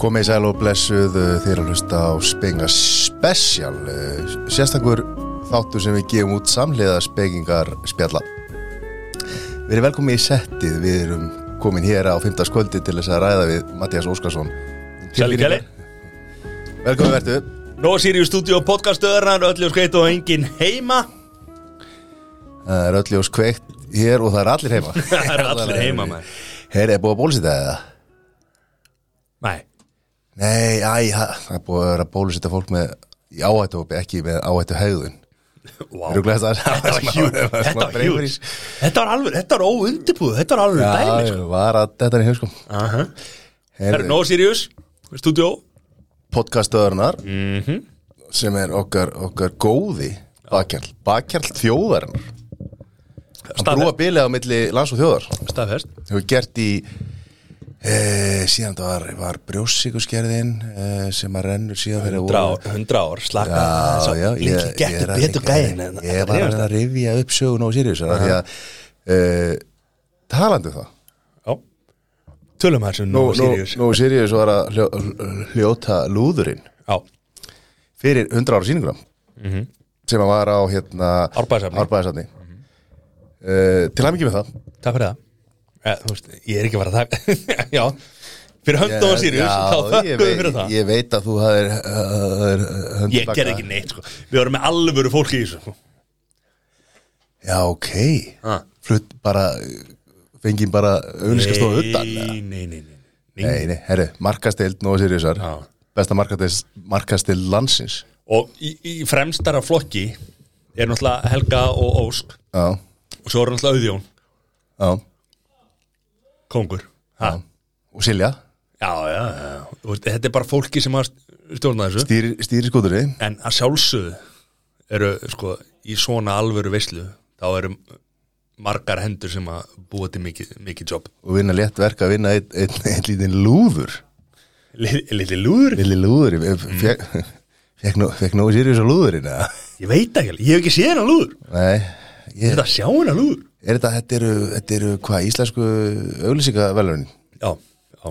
Komið sæl og blessuð uh, þeir að hlusta á Spenga Special uh, Sérstakur þáttur sem við gefum út samhliða Spengingar spjalla Við erum velkomin í settið Við erum komin hér á 5. skvöldi til þess að ræða við Mattias Óskarsson Sæli Kjali Velkomin verðu Nó Sirius Studio podcastöðurnar Öllu skeitt og engin heima Það er öll ljós kveikt hér og það er allir heima Það er allir heima maður Herri, er búið að bólusetja það eða? Nei Nei, æ, það það er búið að vera að bólusetja fólk með í áhættuhópi, ekki með áhættu hegðun wow. Rúglega það Þetta var hjúð Þetta var hjúð Þetta var alveg Þetta var óundibúð Þetta var alveg dæmi Já, sko. var að þetta er í sko. hauskum uh -huh. Herru, Nó Sirius Studio podcastöðurnar Mhm. sem er okkar, okkar góði bakkjarl, bakkjarl þjóðarinnar hann brúa Staðfest bilið á milli lands og þjóðar Staðfest hefur gert í e, síðan það var, var brjósíkuskerðin e, sem að rennur síðan þegar Hundra ár Hundra ár Slaka já, já, ég Lengi ég er getur að- betur gæðin ég- ég var að reyna að rifja upp sögun á Sirius af því að e, talandi um það Já Tölum þessu Nó nú, nú, Sirius nú Sirius var að hljó, hljóta lúðurinn Já fyrir 100 ára síninguna Mhm. sem að var á hérna Árbæðarsafni. Árbæðarsafni. Eh, til að mikið með það Takk fyrir það Eh, Þú veist Ég er ekki bara að taka Já Fyrir hönd Nó Sirius Já, Þá ég, þökkum við fyrir veit, það ég veit að þú hafðir uh, Ég gerði ekki neitt sko Við vorum með alvöru fólki í þessu sko. Já, ok Ha. Flutt bara fengið bara auðlýskastofu utan eða? Nei, nei, nei, nei, nei. Nei, nei, herri, markastild Nóa Siriusar Já. Besta markastild, markastild landsins Og í, í fremstara flokki er náttúrulega Helga og Ósk Já, og svo er náttúrulega Auðjón, já kongur ha? Og Silja, Já, já, já Þú veist, Þetta er bara fólki sem að stjórna þessu stýri, stýri skúturri En að sjálfsögðu eru sko í svona alvöru veislu þá eru margar hendur sem að búa til mikið, mikið jobb og vinna létt verk að vinna einn ein, ein, ein lítinn lúður Lítið lúður? Lilli lúður Fekk nógu Sirius á lúðurinn eða? Ég veit ekki, alveg, ég hef ekki séð hennar lúður Nei ég, Þetta sjá hennar lúður Er þetta, þetta eru, þetta eru hvað, íslensku auglýsingavelunin? Já, já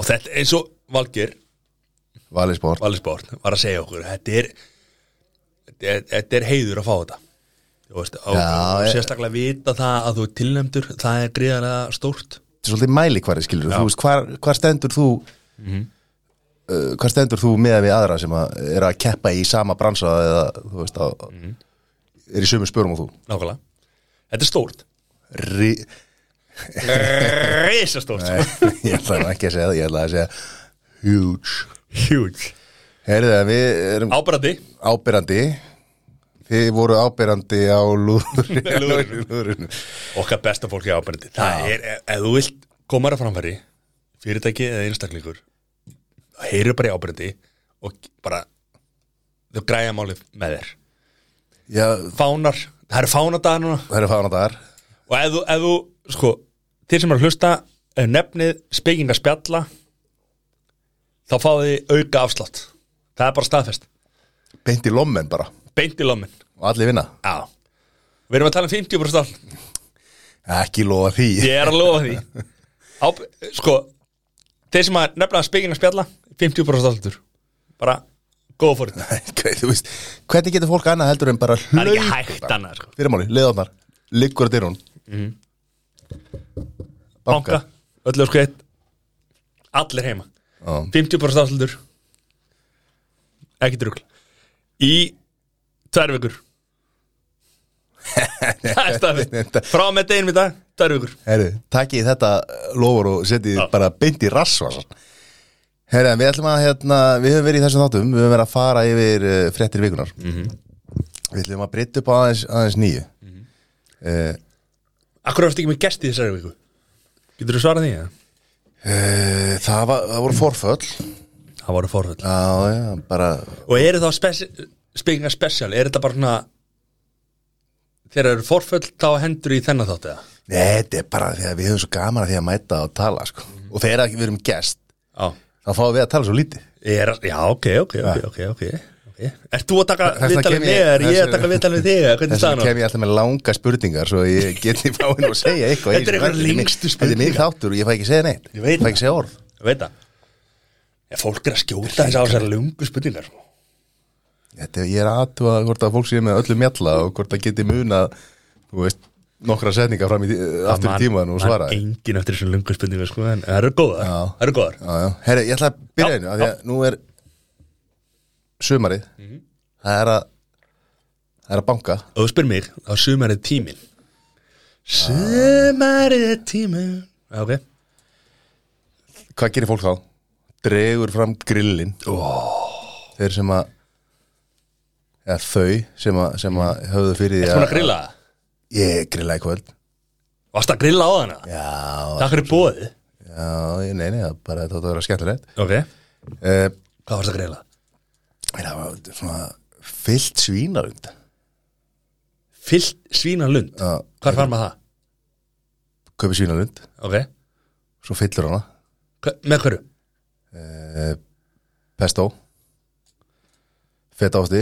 Og þetta eins og Valgir Valið sport Valisbórn var að segja okkur þetta er, þetta er, þetta er heiður að fá þetta Þú veist, á, Já, ég- sérstaklega vita það að þú er tilnæmdur það er gríðarlega stórt Þetta er svolítið mæli hvar skilur Þú veist, hvar, hvar stendur þú Mhm. uh, Hvar stendur þú með við aðra sem að er að keppa í sama bransa eða, þú veist, á, er í sömu spörum og þú nákvæmlega, þetta er stórt Rí, reysa stórt nei, ég ætla nú ekki að segja það, ég ætla að segja huge huge, Herðu, en við erum ábræði ábyrrandi Þið voru ábyrrandi á lúðurinn Lúðurinn. Lúðurinn. okkar besta fólki ábræði það er, ef, ef þú vilt koma að framfæri fyrirtæki eða einstaklingur þá heyrðu bara í ábræði og bara þau græja málið með þér Já, fánar, það eru fánadagar núna það eru fánadagar Og ef þú, ef þú sko, þeir sem eru að hlusta ef nefnið spekinga spjalla þá fáið þið auka afslátt. Það er bara staðfest. Beint í lommen bara Beint í lommin. Og allir vinna Já. Við erum að tala um 50% afslátt. Ekki lofa því Ég er að lofa því. Á, sko, þeir sem að nefna spekinga spjalla 50% afsláttur. Bara góða fór þetta. Hvað, þú veist, Hvernig getur fólk annað heldur en bara Það er hlaup ekki hægt annað, sko. Fyrirmáli, leiðarnar Liggur að dyrun Mhm. Banka, öllu sko eitt. Allir heima. Já. 50% afslutur ekki drugl í tvær vikur það er staðfest frá með deginum í dag, tvær vikur Herru, takkið þetta lofur og setjið Já. bara beint í rassvasan Herru, en við ætlum að hérna, Við höfum verið í þessum þáttum Við höfum verið að fara yfir uh, fréttir vikunar Við ætlum að breytta upp á aðeins, aðeins nýju Eh, Akkur varst ekki með gesti í þessari viku Getur þú svarað því? eða? uh, það, var, það voru forföll Það voru forföll Já, já, bara Og eru þá spesi- spekinga special, er þetta bara svona þegar það eru forföll þá hendur í þennan þátt eða? Nei, þetta er bara því að við höfum svo gaman að því að mæta og tala sko. og þegar við erum gest Já þá fáum við að tala svo lítið Ég er, að- já, ok, ok, ok, ok, ok, ok. Ert þú að taka Þess vegna viðtalið kem með ég- þig, er ég að þess- taka viðtalið með þig, eða? hvernig þess staðan vegna á? kem ég alltaf með langa spurningar svo ég geti fáin og segja eitthvað í Þetta er þessu. eitthvað lengstu Þetta er minn þáttur og ég fæ ekki að segja neitt Ég veit fæ ekki að segja orð Ég veit það Ef fólk er að skjóta þess á þessar lungu spurningar sko. Þetta, ég er aðtúa hvort að fólk sé með öllu mjalla og hvort að geti muna þú veist, nokkra setninga fram í tí- aftur í tíman og svara Man engin eftir þessar lungu spurningar sko, en það eru góðar, Já. það eru góðar. Já, já, herri, ég ætla að byrja Já, einu að því að nú er sumarið Mhm. það er að það er að banka Og þú spyr mig, þá er sumarið tímin Sumarið tímin Já, ok hvað gerir fólk þá? Dregur fram grillin oh. þeir sem að eða þau sem að, sem að höfðu fyrir því Þú er að grilla það? ég grillaði í kvöld Varst að grilla á hana? já, Takk fyrir bóðið já, ég- nei, nei, það er bara þetta átti að vera skemmtilegt Ok Hvað uh, varst að grilla? það var svona fyllt svínarund Fyllt svínalund Já. Hvar fær maður það? köpi svínarund, Ok svo fyllur hana Hva, Með hverju? pesto fett ásti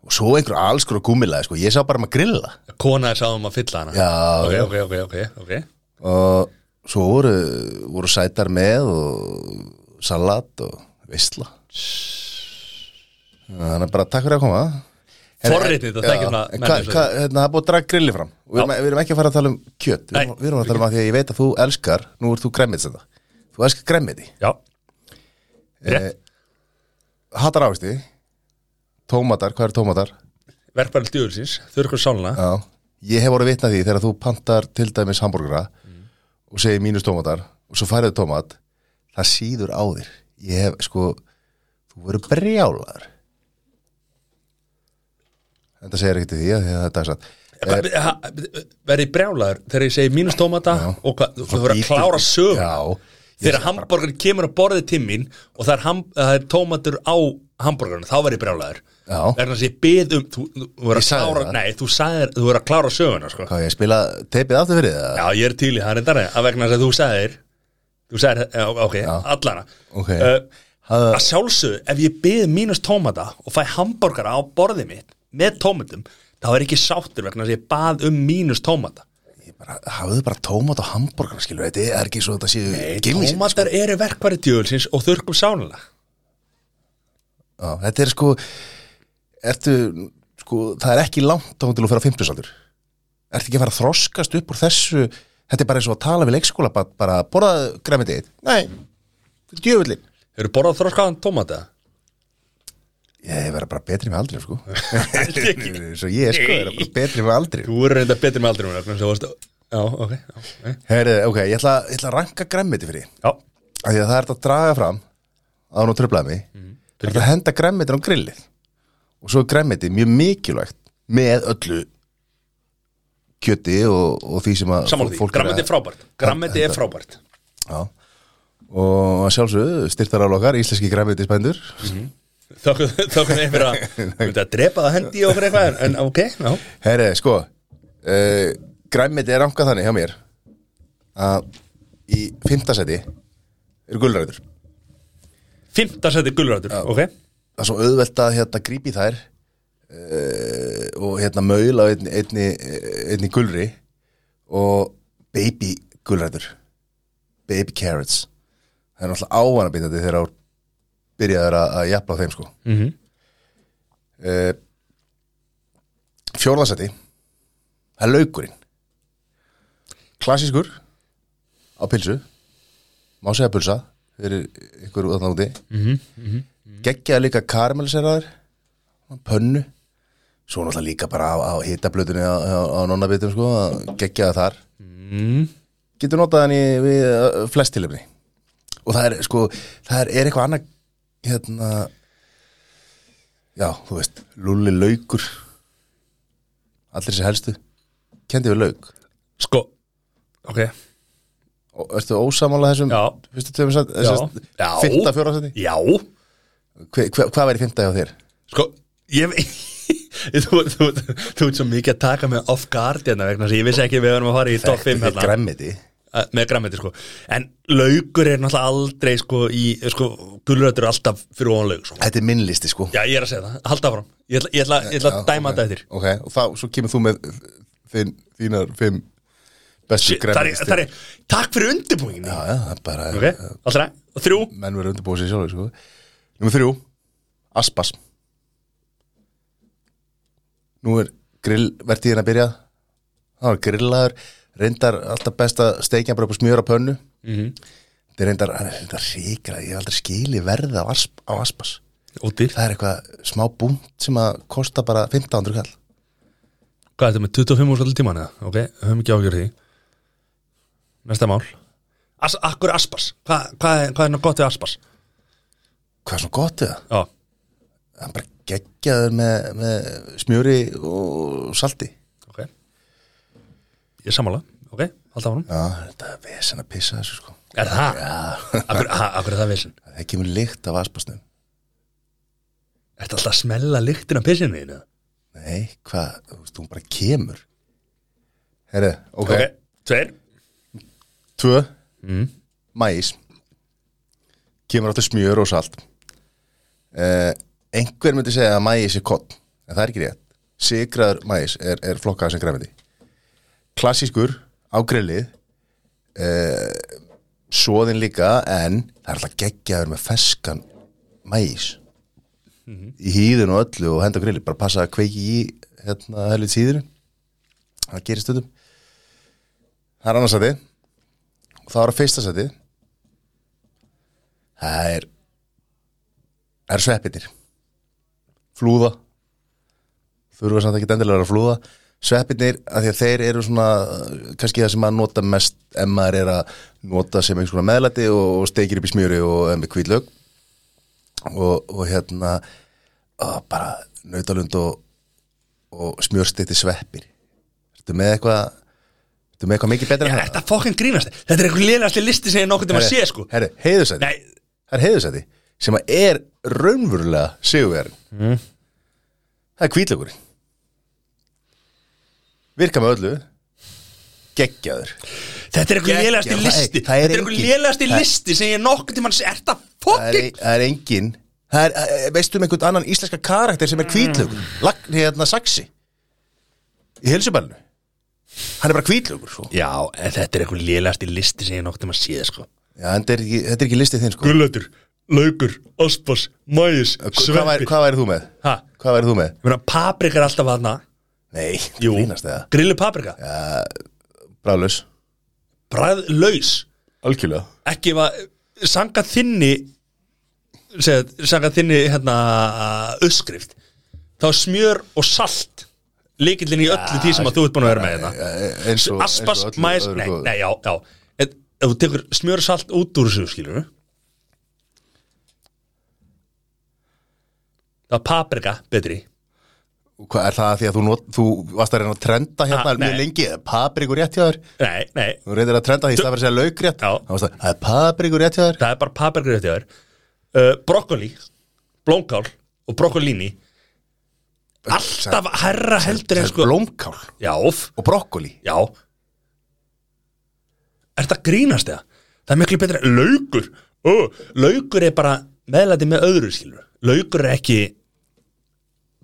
og svo einhver alls konar gúmilaði sko. ég sá bara um að grilla Kona er sáðum að fylla hana Já, Ok, já. ok, ok, ok, ok og svo voru, voru sætar með og salat og visla þannig að bara takk fyrir að koma Forritið, þetta þekkir hva, svona menn hva, eins og hérna, Það er búið að draga grilli fram og við erum, við erum ekki að fara að tala um kjöt við erum, Nei. við erum að tala um að því að ég veit að þú elskar nú ert þú græmmiðsenda þú elskar græmmiði Já Eh, Rétt hattar ávisti tómatar, hvað eru tómatar? Verkbæri stjóðulsins Þurrkur sálna Já, ég hef orðið vitna því þegar þú pantar til dæmis hambúrgara og segir mínus tómatar og svo færðu tómat það síður á þér ég hef, sko, þú verður brjálar en það segir ekkert í því að því að þetta er satt Eh, Verði brjálaður þegar ég segi mínus tómata og hvað, þú verður að Bítur- klára sög Eh, Já, þegar hambúrgarinn kemur að borðið til mín og það er, ham, það er tómatur á hambúrgarinn, þá verð ég brjálæður Já. vegna þess að ég bið um þú, þú, þú Ég er að sagði klára, það. nei, þú, sagðir, þú er að klára söguna sko. hvað ég spila teipið aftur fyrir það? já, ég er til í það reyndar að vegna þess að þú sagðir þú sagðir, já, ok, allana Ok. uh, Það- að sjálfsögðu, ef ég bið mínus tómata og fæ hambúrgara á borðið mitt með tómatum, þá er ég ekki sáttur vegna þess að ég bað um mínus tómata Ég bara, hafðu bara tómat og hambúrgara skilur, þetta er ekki sko. svo þetta séu gimmis tómatar eru verkværi djöfulsins og þurrkum sánlega Já, þetta er sko ertu, sko, það er ekki langt þá til að fara á fimmtusaldur ertu ekki að fara að þroskast upp úr þessu þetta er bara eins og að tala við leikskóla bara, bara borðaðu græmiti eitt nei, djöfullin Hefur borðað þroskaðan tómata? ég verða bara betri með aldrei sko Held ég ekki. svo ég er sko, ég er bara betri með aldrei Þú eru reynda betur með aldrei mér vegna þess að þú varst- Já, ok Já, nei. Heri, ok, ég ætla, ég ætla að ranka græmiti fyrir já. af því að það er þetta að draga fram að nú tröflaði mig Mhm. það er þetta að henda græmitin á grillið og svo er græmiti mjög mikilvægt með öllu kjöti og, og því sem að Sammála því, fólk grammeti er að- frábært Grammeti er frábært Já. og að sjálfsögðu styrtar álokkar, íslenski græmiti spændur Mhm. Þá kannu ég fyrir að Myndi að drepa það hendi og fyrir eitthvað en- En ok, já herri, sko uh, græmiti er rankað þannig hjá mér að í fimmtasæti eru gulræður Fymta seti gulrætur, ok það er svo auðvelt að hérna grípi þær uh, og hérna maul á einni, einni, einni gulri og baby gulrætur baby carrots það er náttúrulega ávanabindandi þegar þú byrjaður að, að jafla á þeim sko mm Mhm. Eh, fjórðasæti það er laukurinn klassískur á pilsu má segja pulsa fyrir ykkur þarna úti geggjaði líka karamelliseraður pönnu svo náttúrulega líka bara á, á hitablötunni á, á, á nonnabitum sko geggjaði þar mm. getur notað hann í við uh, flest tilöfni og það er sko það er, er eitthvað annað hérna já, þú veist, lulli laukur allir þessi helstu kendi við lauk Sko, ok og ertu ósamála þessum Já. fyrstu tveimur sætt Já. Já. fyrta fjóra sætti Já Hve- hve- hvað væri fymta hjá þér? Sko, ég Þú, þú, þú, þú ert svo mikið að taka mig off guard hérna vegna þess að ég vissi ekki að við verðum að fara í top 5 hérna græmmiti Að- með græmiti sko en laukur er náttúrulega aldrei sko í sko gulrötur er alltaf fyrir ofan laug sko. þetta er minn listi sko já ég er að segja það, halda áfram ég ætla, ég ætla, ég ætla að dæma þetta eftir Ok, og þá, svo kemur þú með þín, þínar fimm bestu Tari, grænmetisdýr. tari, takk fyrir undirbúingin Já, já, það er bara Ok, alltaf ræð Og þrjú menn verður undirbúið sér sjálfur sko. Númer þrjú, aspas Nú er grillvertíðin að byrja Það var grillaður reyndar alltaf best að steikja hann bara upp og smjöra pönnu Þetta er reyndar, hann er reyndar ríkra ég hef aldrei skili verði á, asp, á aspas Ódýr Það er eitthvað smá búnt sem að kosta bara 1500 kall Hvað er þetta með 25 úr allir tíman eða? Ok, höfum ekki ágjör því Næsta mál As, Akkur Aspas, hvað, hvað, er- hvað er nú gott við Aspas? Hvað er svona gott við það? Já, Hann bara geggjaður með, með smjöri og salti ok Ég er sammála, ok, alltaf varum Já, þetta er vesen að pissa þessu sko Er það? Já Akkur, ha, akkur er það vissin? Það kemur lykt af aspasnum Er þetta alltaf að smella lyktin af pissinu þínu? Nei, hvað, þú veist, hún bara kemur Herri, ok, Ok, tveir Tvö, mm. mæs Kemur áttu smjör og salt eh, Einhver myndi segja að mæs er kott En það er ekki rétt Sigraður mæs er, er flokkað sem græmiti Klassískur á grillið eh, Svoðin líka En það er alltaf geggjaður með feskan mæs Í hýðun og öllu og henda á grillið Bara passa að kveiki í hérna helvits hýðinu Það gerist stundum Það er annars að þið og það var að fyrsta seti það er það er sveppitir flúða þurfa samt ekki endilega að vera flúða sveppinir, af því að þeir eru svona uh, kannski það sem maður nota mest ef maður er að nota sem einhvers konar meðlæti og, og steikir upp í smjöri og emmi kvíðlaug og, og hérna að bara nautalund og, og smjörstitti sveppir Ertu með eitthvað Ertu með eitthvað mikið betra en það? Þetta fokkin grínast Þetta er einhver lénast listi sem ég nokkuð um að sé sko Herri, heiðursæti Nei, Það er heiðursæti sem að er raunverulega sigurverðin Mm. Það er kvítlökurinn Virka með öllu Geggjaður Þetta er einhver Geggjað. lélegasti Það- listi það er Þetta er einhver engin- lélegasti það- listi sem ég nokkuð tímann Er þetta Það er, fokkin það er engin það er, eh, Veistu um einhvern annan íslenska karakter Mm. sem er kvítlökur Lagn hérna saxi Í helsubælinu Hann er bara sko. kvítlökur svo Já, en þetta er einhver lélegasti listi sem ég nokkuð tímann séð sko Já, en þetta er ekki, þetta er ekki listið þinn sko Gullötur, laukur, ospas, mæjus, Hva- Hvað væri- hvað væri þú með? Hæ? Hvað væri þú með? Ég meina, paprika er alltaf aðna Nei, þú grínast það Grillu paprika ja. Brálaus Bræðlaus Algjörlega Ekki var Sanga þinni segja, Sanga þinni hérna Öskrift Þá er smjör og salt Líkillin í öllu því sem að þú ert búin að vera með hérna Eh, eins og Aspas, eins og öllu mæs, öðru nei, góðu. nei, já, já En Ef þú tekur smjör og salt út úr þessu, skilur við Það er paprika, betri Hvað er það að því að þú, not, þú varst að reyna að trenda hérna Ah, mjög nei. lengi Paprikur rétt hjá þér Nei, nei, Þú reyndir að trenda því í stað fyrir að segja laukrétt Já. Sko- Það varst að það er paprikur rétt hjá þér það er bara paprika rétt hjá þér uh, Brokkoli, blómkál og brokkolíni Alltaf herra heldur en Það er sko blómkál Já, óf, og brokkoli já Er þetta grínast eða? Það er miklu betra, laukur Ó, Laukur er bara meðlæti með öðru skilur Laukur er ekki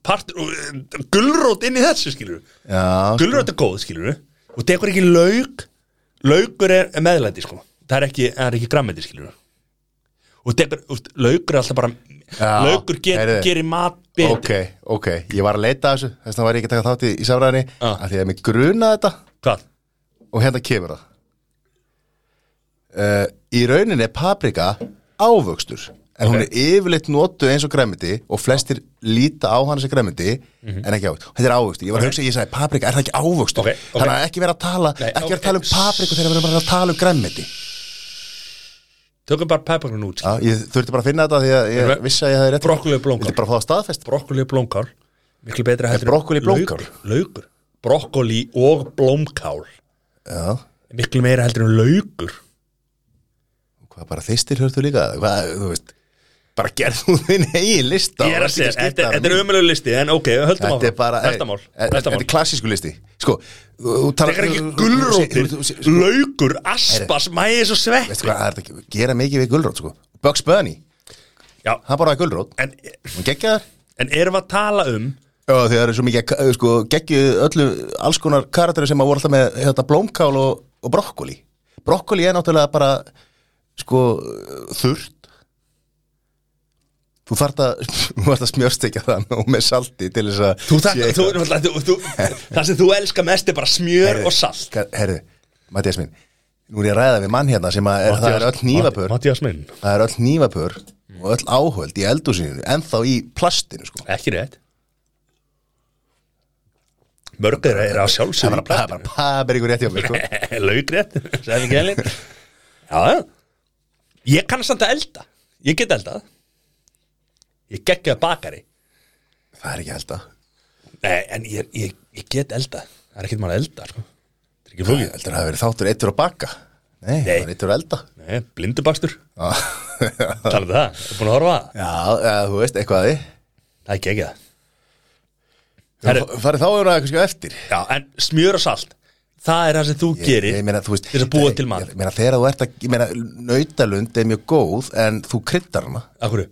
partur, gulrót inn í þessu skilur Já, sko. Gulrót er góð skilur Og tekur ekki lauk Laukur er er meðlæti sko Það er ekki, það er ekki grammeti skilur Og tekur, úst, laukur er alltaf bara Já, Laukur get, heyrðu. gerir mat betri ok, ok Ég var að leita að þessu Þess vegna var ég ekki að taka þátt í, í samræðinni Já. Af Því að mig gruna þetta Hvað? og hérna kemur það uh, Í rauninni er paprika ávöxtur en hún er yfirleitt notu eins og græmiti og flestir líta á hana sem græmiti en ekki ávöxtur, þetta er ávöxtur ég var að hugsa, ég sagði paprika, er það ekki ávöxtur Mhm. Ok, ok. þannig að ekki vera að tala, Nei, ekki vera ok. að tala um paprika þegar við erum bara að tala um græmiti Tökum bara pepparinn út Já, ég þurfti bara að finna þetta því að Erum ég við- vissi að ég hafði rétt Brokkoli og blómkál. Vildi bara fá það staðfest brokkoli og blómkál miklu betra heldur en brokkoli blómkál? laukur, laukur. brokkoli og blómkál Já, miklu meira heldur en laukur hvað bara þistir hörðu líka hvað, þú veist, bara gerð þú þinn eigin lista ég er og að vertu ekki segja, skipta þetta þar þetta á er mínu. umjölu listi en ok, höldum Þetta er bara áfram næsta mál, e- e- næsta Þetta mál er klassísku listi Sko, þú þú talar Þegar ekki þú- þú- gulrótir, þú- þú- þú- laukur, aspas, mæðis Veistu og sveppi hvað, það er ekki Gera mikið við gulrót, sko Bugs Bunny, Já, hann bara var gulrót en, Hún geggja þar en erum við að tala um Já, eh, þau eru svo mikið, að- sko, geggju öllu alls konar karakteru sem að voru alltaf með hérna, blómkál og og brokkoli brokkoli er náttúrulega bara sko þurrt þú þarft að þú þarft að smjörstekja það og með salti til þess að Þú, það, sé þú, eitthvað. þú, þú, þú, það sem þú elskar mest er bara smjör og salt Ka- herðu, Mattias minn nú er ég að ræða við mann hérna sem að er, það er öll nývapör Mattias minn það er öll nývapör og öll áhöld í eldúsinu ennþá í plastinu sko Ekki rétt Mörg þeirra er á það sjálfsögum er bara, bara paberingur rétt hjá mér sko Laugrétt, sagði Gelin Já, já. ég kann samt að elda Ég get eldað Ég geggja bakari það er ekki held að Nei, en ég, ég, ég get eldað Það er ekkert maður að elda sko. Það er ekki flókið heldur að það hafi verið þáttur eittur að baka nei, það var eittur að elda Nei, blindubakstur, já, talaðu um það, er búin að horfa á það já eða, þú veist eitthvað að Það er geggjað Herru. því farið þá yfir að eitthvað eftir Já, en smjör og salt Það er það sem þú gerir ég meina, þú veist, til þess að búa til mat ég meina, þegar þú ert að, ég meina, nautalund er mjög góð en þú kryddar hana Af hverju?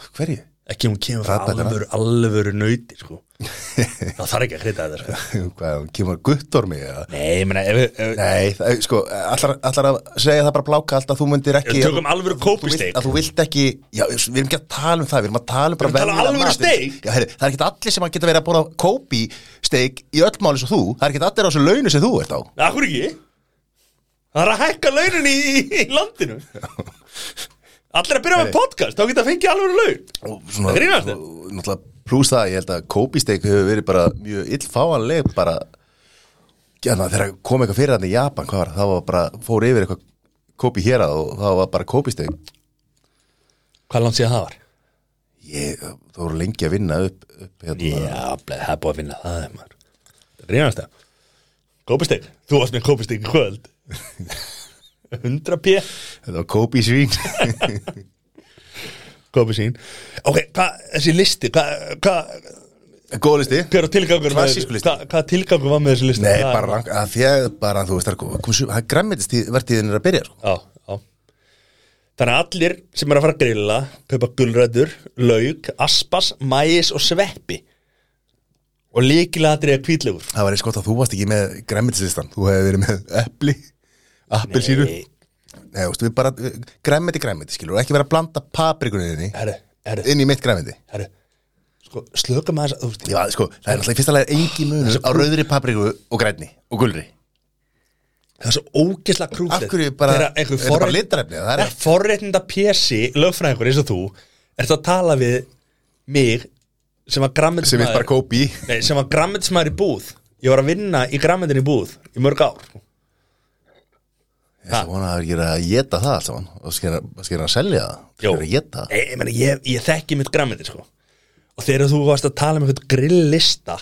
Af hverju? Ekki hún kemur frá Ratar hana. alvöru, alvöru nöyti sko. Það þarf ekki að hreita þetta sko. hvað, kemur guttormi eða Nei, ég meina, ef, ef, Nei, það, sko, allar, allar að segja það bara bláka allt að þú myndir ekki Við tökum Þú alvöru vilt- kópisteik að þú vilt ekki, já, við erum ekki að tala um það við erum að tala um bara Við erum að tala um venjulegan alvöru matinn. steik. já, heyri, það er ekki allir sem að geta verið að bóra kópi steik í öll máli sem þú það er ekki allir á þessu launu sem þú ert á Akkur ekki Það er að hækka launin í, í, í landinu Allir að byrja með podcast Þá geta að fengja alvöru laun og svona, Það grínast þér? og náttúrulega pluss það, ég held að kópi steik hefur verið bara mjög illfáanleg bara, hérna, þegar kom eitthvað fyrir þannig í Japan, hvað var það? það var bara, fór yfir eitthvað kópi hér að og það var bara kópi steik Hvað land síðan það var? ég, þú voru lengi að vinna upp, upp hérna, Já, bleið, það er búið að vinna það er maður Það grínast það Kópisteik, þú varst með kópisteik í kvöld 100 p Þetta var Kobe Svín Kópi sín Ok, hvað, þessi listi hvað, hvað, Góð listi Hver á tilgangur Klassísku listi. hvað, hvað tilgangur var með þessi listi? Nei, Hvað- bara rank að Því að bara, þú veist, það er kom- kom svo- það er græmmetisvertíðin er að byrja sko. Já, já Þannig að allir sem er að fara að grilla kaupa gulræður, lauk, aspas, mæis og sveppi og líkilatri að kvítlegur Það var eins gott að þú varst ekki með græmmetislistan Þú hefði verið með epli Appelsíru Nei, þú veist, við bara Græmmeti, græmmeti, skilur og Ekki vera að blanda paprikuninni Herru, herru, Inn í mitt græmmeti herru Sko, slöka maður þess að þú veist Já, sko, það er náttúrulega í fyrsta lagi engi munur á rauðri papriku og grænni og gulri Það er svo ógeðslega krútið Af hverju bara, Þegar þetta einhver er bara forrétt- litarefni Það er Þegar forréttinda PC, lögfræðingur eins og þú ert að tala við mig sem var grammetismæður sem við bara kópi Nei, sem var grammetismæður í búð Ég var að vinna í grammetin í búð í mörg ár Ég vona að það er ekki að geta það allt saman og skera, skera að selja það, Jó. skera að geta það Nei, ég, meni, ég, ég þekki mitt grammiti sko. og þegar þú varst að tala um eitthvað grilllista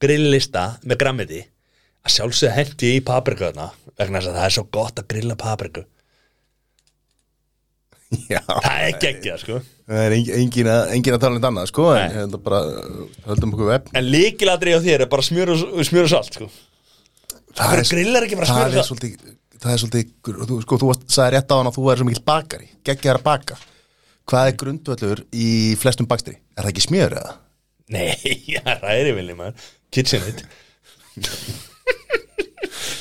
grilllista með grammiti að sjálfsögðu hendi ég í paprikaðna vegna þess að það er svo gott að grilla papriku Já, það er geggjað sko Það er engin, engin, að, engin að tala um þetta annað sko en þetta bara, uh, höldum okkur vefn en líkilatri á þér er bara smjör og, smjör og salt sko. Það Bara grillar ekki bara það er smjör og salt svolítið það er svolítið, gr- þú, sko, þú varst, sagði rétt á hann að þú er svo mikill bakari, geggjar að baka Hvað er grundvöllur í flestum bakstri? Er það ekki smjör eða? nei, það ræðir vilja maður kitchenit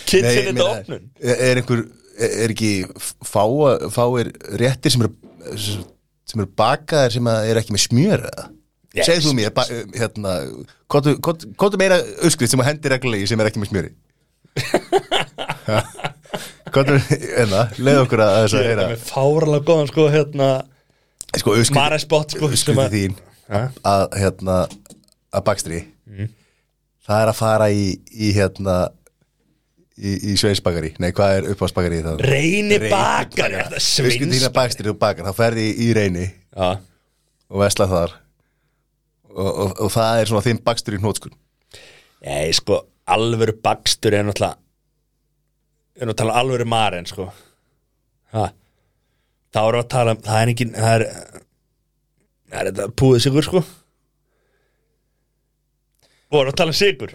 kitchenit meina, opnun er, er einhver, e- er, er ekki fáa, fáir réttir sem eru sem eru bakaðir sem að eru ekki með smjör eða? Yes. Segðu þú mér, ba- hérna, kóttu- kóttu kóttu meira öskrið sem að hendi reglulegi sem er ekki með smjöri Kóttu, hérna, leið okkur að þess að Ég er heyra þetta með fáralega góðan sko hérna Sko, öskrið, Marespot sko sem öskrið að- þín Ha? að, hérna, að bakstri Mm. Það er að fara í, í hérna, í, í sveinsbakari Nei, hvað er uppáðsbakari í það? Reyni bakar Öskrið Svins þín að bakstri og bakar, þá ferði í reyni Já. og vesla þar og, og, og það er svona þinn bakstur í hnótskun Nei, sko, alvöru bakstur er náttúrulega er nú að tala um alvöru maren sko ha. þá erum við að tala um það er engin það er, það er þetta púið sigur sko vorum við að tala um sigur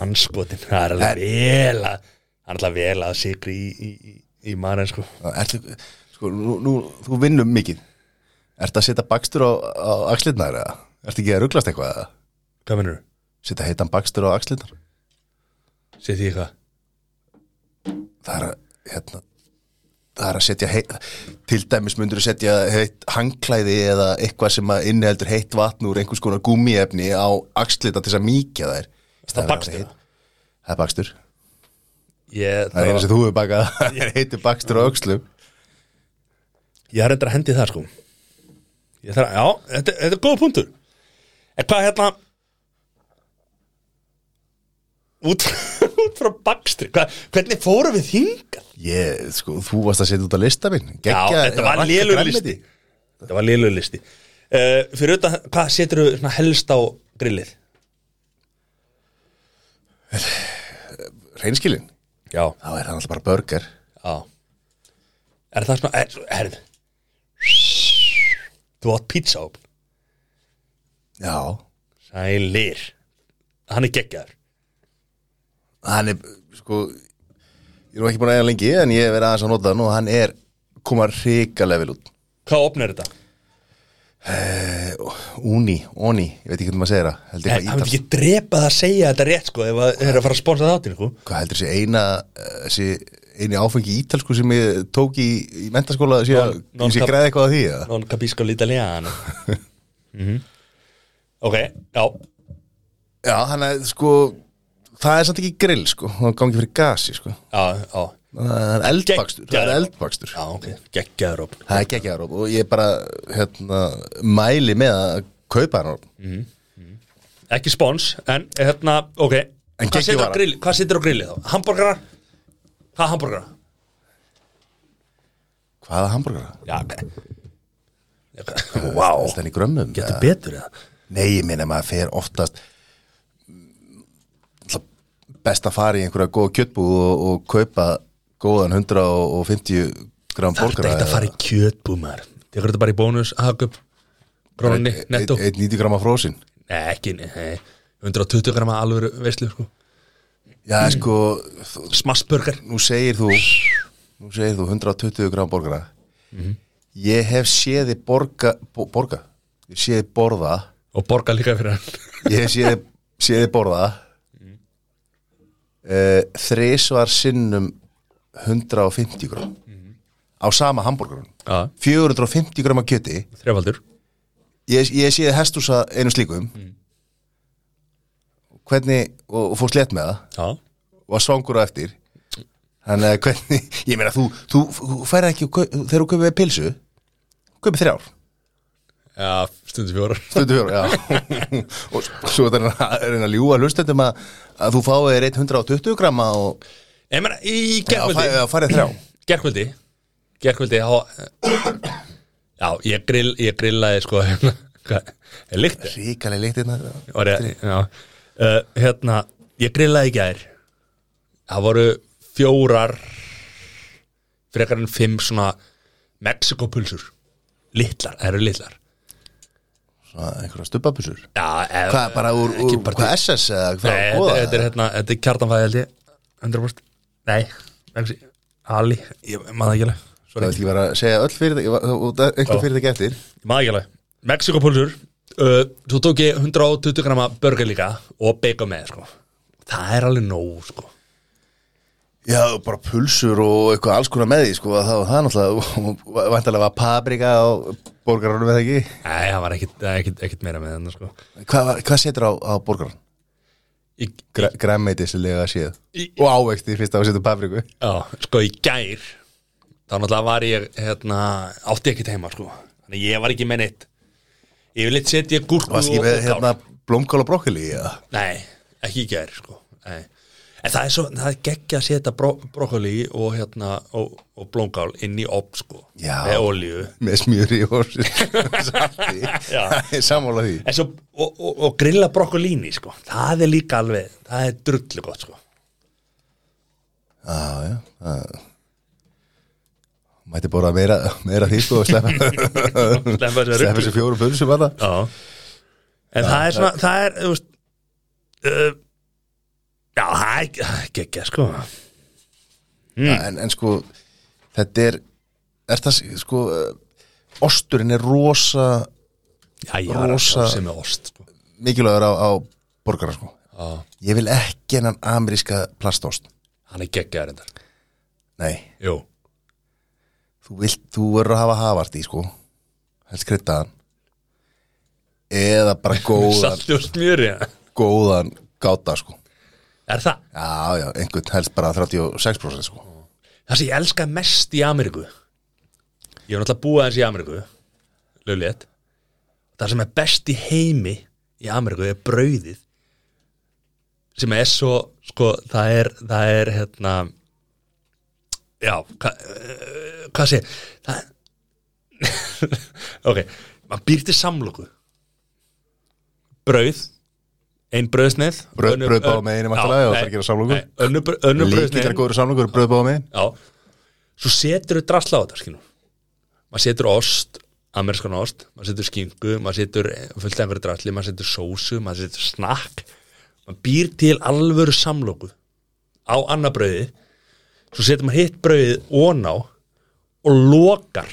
anskotin, það er alveg vel að það er alveg vel að sigur í, í, í, í maren sko Ertu, sko, nú, nú, þú vinnum mikið Ertu að setja bakstur á, á axlirnar eða? Ertu ekki að rugglast eitthvað eða? hvað mennur? Setja heitan bakstur á axlirnar? Sér því eitthvað það er að, hérna, það er að setja heit, til dæmis myndur að setja heitt hangklæði eða eitthvað sem að inniheldur heitt vatn úr einhvers konar gúmiefni á axlita til þess að míkja þær Í staðinn fyrir að bakstur vera heitt. það er bakstur, það það? Ég, er eina var- sem þú hefur bakað það er heitur bakstur á öxlum ég er reyndar að hendi í það sko Ég þarf að, já, þetta, þetta er góða punktur En hvað hérna Út, út frá bakstri hvað, Hvernig fórum við þingað? ég, sko, þú varst að setja út á lista minn Já, þetta var lélur listi Þetta var lélur listi uh, Fyrir auðvitað, hvað setur þú helst á grillið? reynskilin, Já, þá er það alltaf bara burger já Er það svona, er, herð Þú átt pizza á já, Sælir Hann er geggjaður hann er, sko ég er nú ekki búin að eiga lengi, en ég hef verið aðeins að nota hann og hann er, koma hrikalega vel út Hvað opnar þetta? Uni, Oni, ég veit ekki hvernig maður segir það heldur En hann eitthvað ítal veit ekki drepað að segja þetta rétt sko ef það er að fara að sponsa þáttin sko. hvað heldur þessi eina eh, þessi eini áfengi ítalsku sem ég tók í, í mentaskóla sé að Non- ég sé non- græði eitthvað á því eða? Non capisco l'italiano mm Ok, já já, hann er sko það er samt ekki grill sko, hann gangi fyrir gasi sko, Já, já, það er eldbakstur það er Geggjaður. eldbakstur já ok, geggjaður opn það er geggjaður og ég bara hérna, mæli með að kaupa hann mm. Ekki spons, en hérna, ok En Hvað geggjuð situr á vara. grilli, hvað situr á grilli þá? Hamburgara? Hvað hamburgara? hvaða hambúrgar Já, ok Vá, það er í grömmum getur eða? betur eða? Nei, ég minna maður fer oftast Náttúrulega best að fara í einhverja góða kjötbúð og, og kaupa góðan 150 gram Það er borgara ekkert að fara í kjötbúmar Tekur þetta bara í bónus, hagup Grónni, netto 190 gram af frósin Nei, ekki, nei 120 grama alvöru veislu sko Já, sko, þú- Smassburger nú segir þú nú segir þú 120 gram borgara Ég hef séði borga, bo, borga ég séði borða Og borga líka fyrir hann ég hef séði, séði borða uh, þrisvar sinnum 150 gram á sama hambúrgarun Já, 450 gram af kjöti þrefaldur ég, ég séði hestúsa einu slíkum hvernig og, og fór slétt með það Já, og var svangur á eftir þannig að hvernig, ég meina þú, þú, þú færi ekki, og kau- þegar þú kaupið pilsu kaupið þrjár já stundu fjórar stundu fjóra, já og s- svo er það að reyna að ljúga hlustendum að, að þú fáið þér 120 grama og Ég meina, í að gerkvöldi fæ- að farið þrjá Gerkvöldi Gerkvöldi, já Já, ég, grill, ég grillaði sko hérna, Hvað, er líkt ríkalega líktið Orðið, já uh, Hérna, ég grillaði í gær Það voru fjórar Frekar en fimm svona Mexikopulsur Littlar, það eru littlar einhverja stubbabusur Já, eða- hvað Eh, bara úr, úr ekki bara hvað SS eða hvað Nei, þetta, þetta er hérna, þetta er kjartanfæði held ég 100% Nei, ekki, Ali, ég maður ekki alveg það Sorry, vil ekki vera að segja öll fyrir það einhver fyrir það getur ég maður ekki alveg Mexikopulsur, uh, svo tók ég 120 grama burger líka og bacon með, sko Það er alveg nóg, sko já bara pulsur og eitthvað alls konar með því sko að það, það er náttúrulega vantarlega var paprika á borgarunum eða ekki Nei, það var ekkit, ekkit, ekkit meira með þennan, sko hvað, var- hvað setur á, á borgarun? Ég, græmmeitislegu að séð Í- og ávexti fyrst á að setja papriku já, sko, í gær Þá náttúrulega var ég, hérna, átti ekkit heima, sko Þannig ég var ekki með neitt Yfirleitt setja ég gúrku varst ekki með og kál. hérna blómkál og brokkoli eða? Nei, ekki í gær sko Nei. En það er svo, það er geggja að setja bro, brokkoli og hérna og, og blómkál inn í opn sko Já. með olíu með smjöri og salti Já. Það er sammála því En svo, og, og, og grilla brokkolíni sko það er líka alveg, það er drullu gott sko Já, já það- mætti borða meira, meira því sko og sleppa Sleppa þessu sleppa þessu fjórum pulsum bara Já En það er svona, það er, þú veist uh, Já, það er það er geggja sko en, en sko þetta er, er það, sko eh, osturinn er rosa Já, ég var að Rosa- sjá sem er ost sko mikilvægur á, á borgara sko Já. Ég vil ekki enan ameríska plastóst Hann er geggjaður endar Nei, Jú, þú vilt, þú verður að hafa hafart í sko Helst kryddaðan Eða bara góðan, salti og smjöri ja. góðan gáta sko Er það? Já, já, einhvern helst bara 36% sko Það sem ég elska mest í Ameríku Ég hef náttúrulega búið aðeins í Ameríku Löglétt Það sem er best í heimi í Ameríku er brauðið sem er svo sko, það er, það er hérna já hva, uh, hvað sé ég? það, ok, maður býr til samlóku brauð ein brauðsneið Brauð- önnur- brauð báðum megin er væntanlega, já, það er að gera samloku. nei, önnur br- önnur brauðsneið Líkilega góður samlingur bröðbáða megin Já, svo setur þau drasla á þetta skilur Maður setur ost, amerískan ost Maður setur skinku, maður setur eh, fullt af einhverju drasli Maður setur sósu, maður setur snakk Maður býr til alvöru samlóku Á annað brauði Svo setur maður hitt brauðið oná Og lokar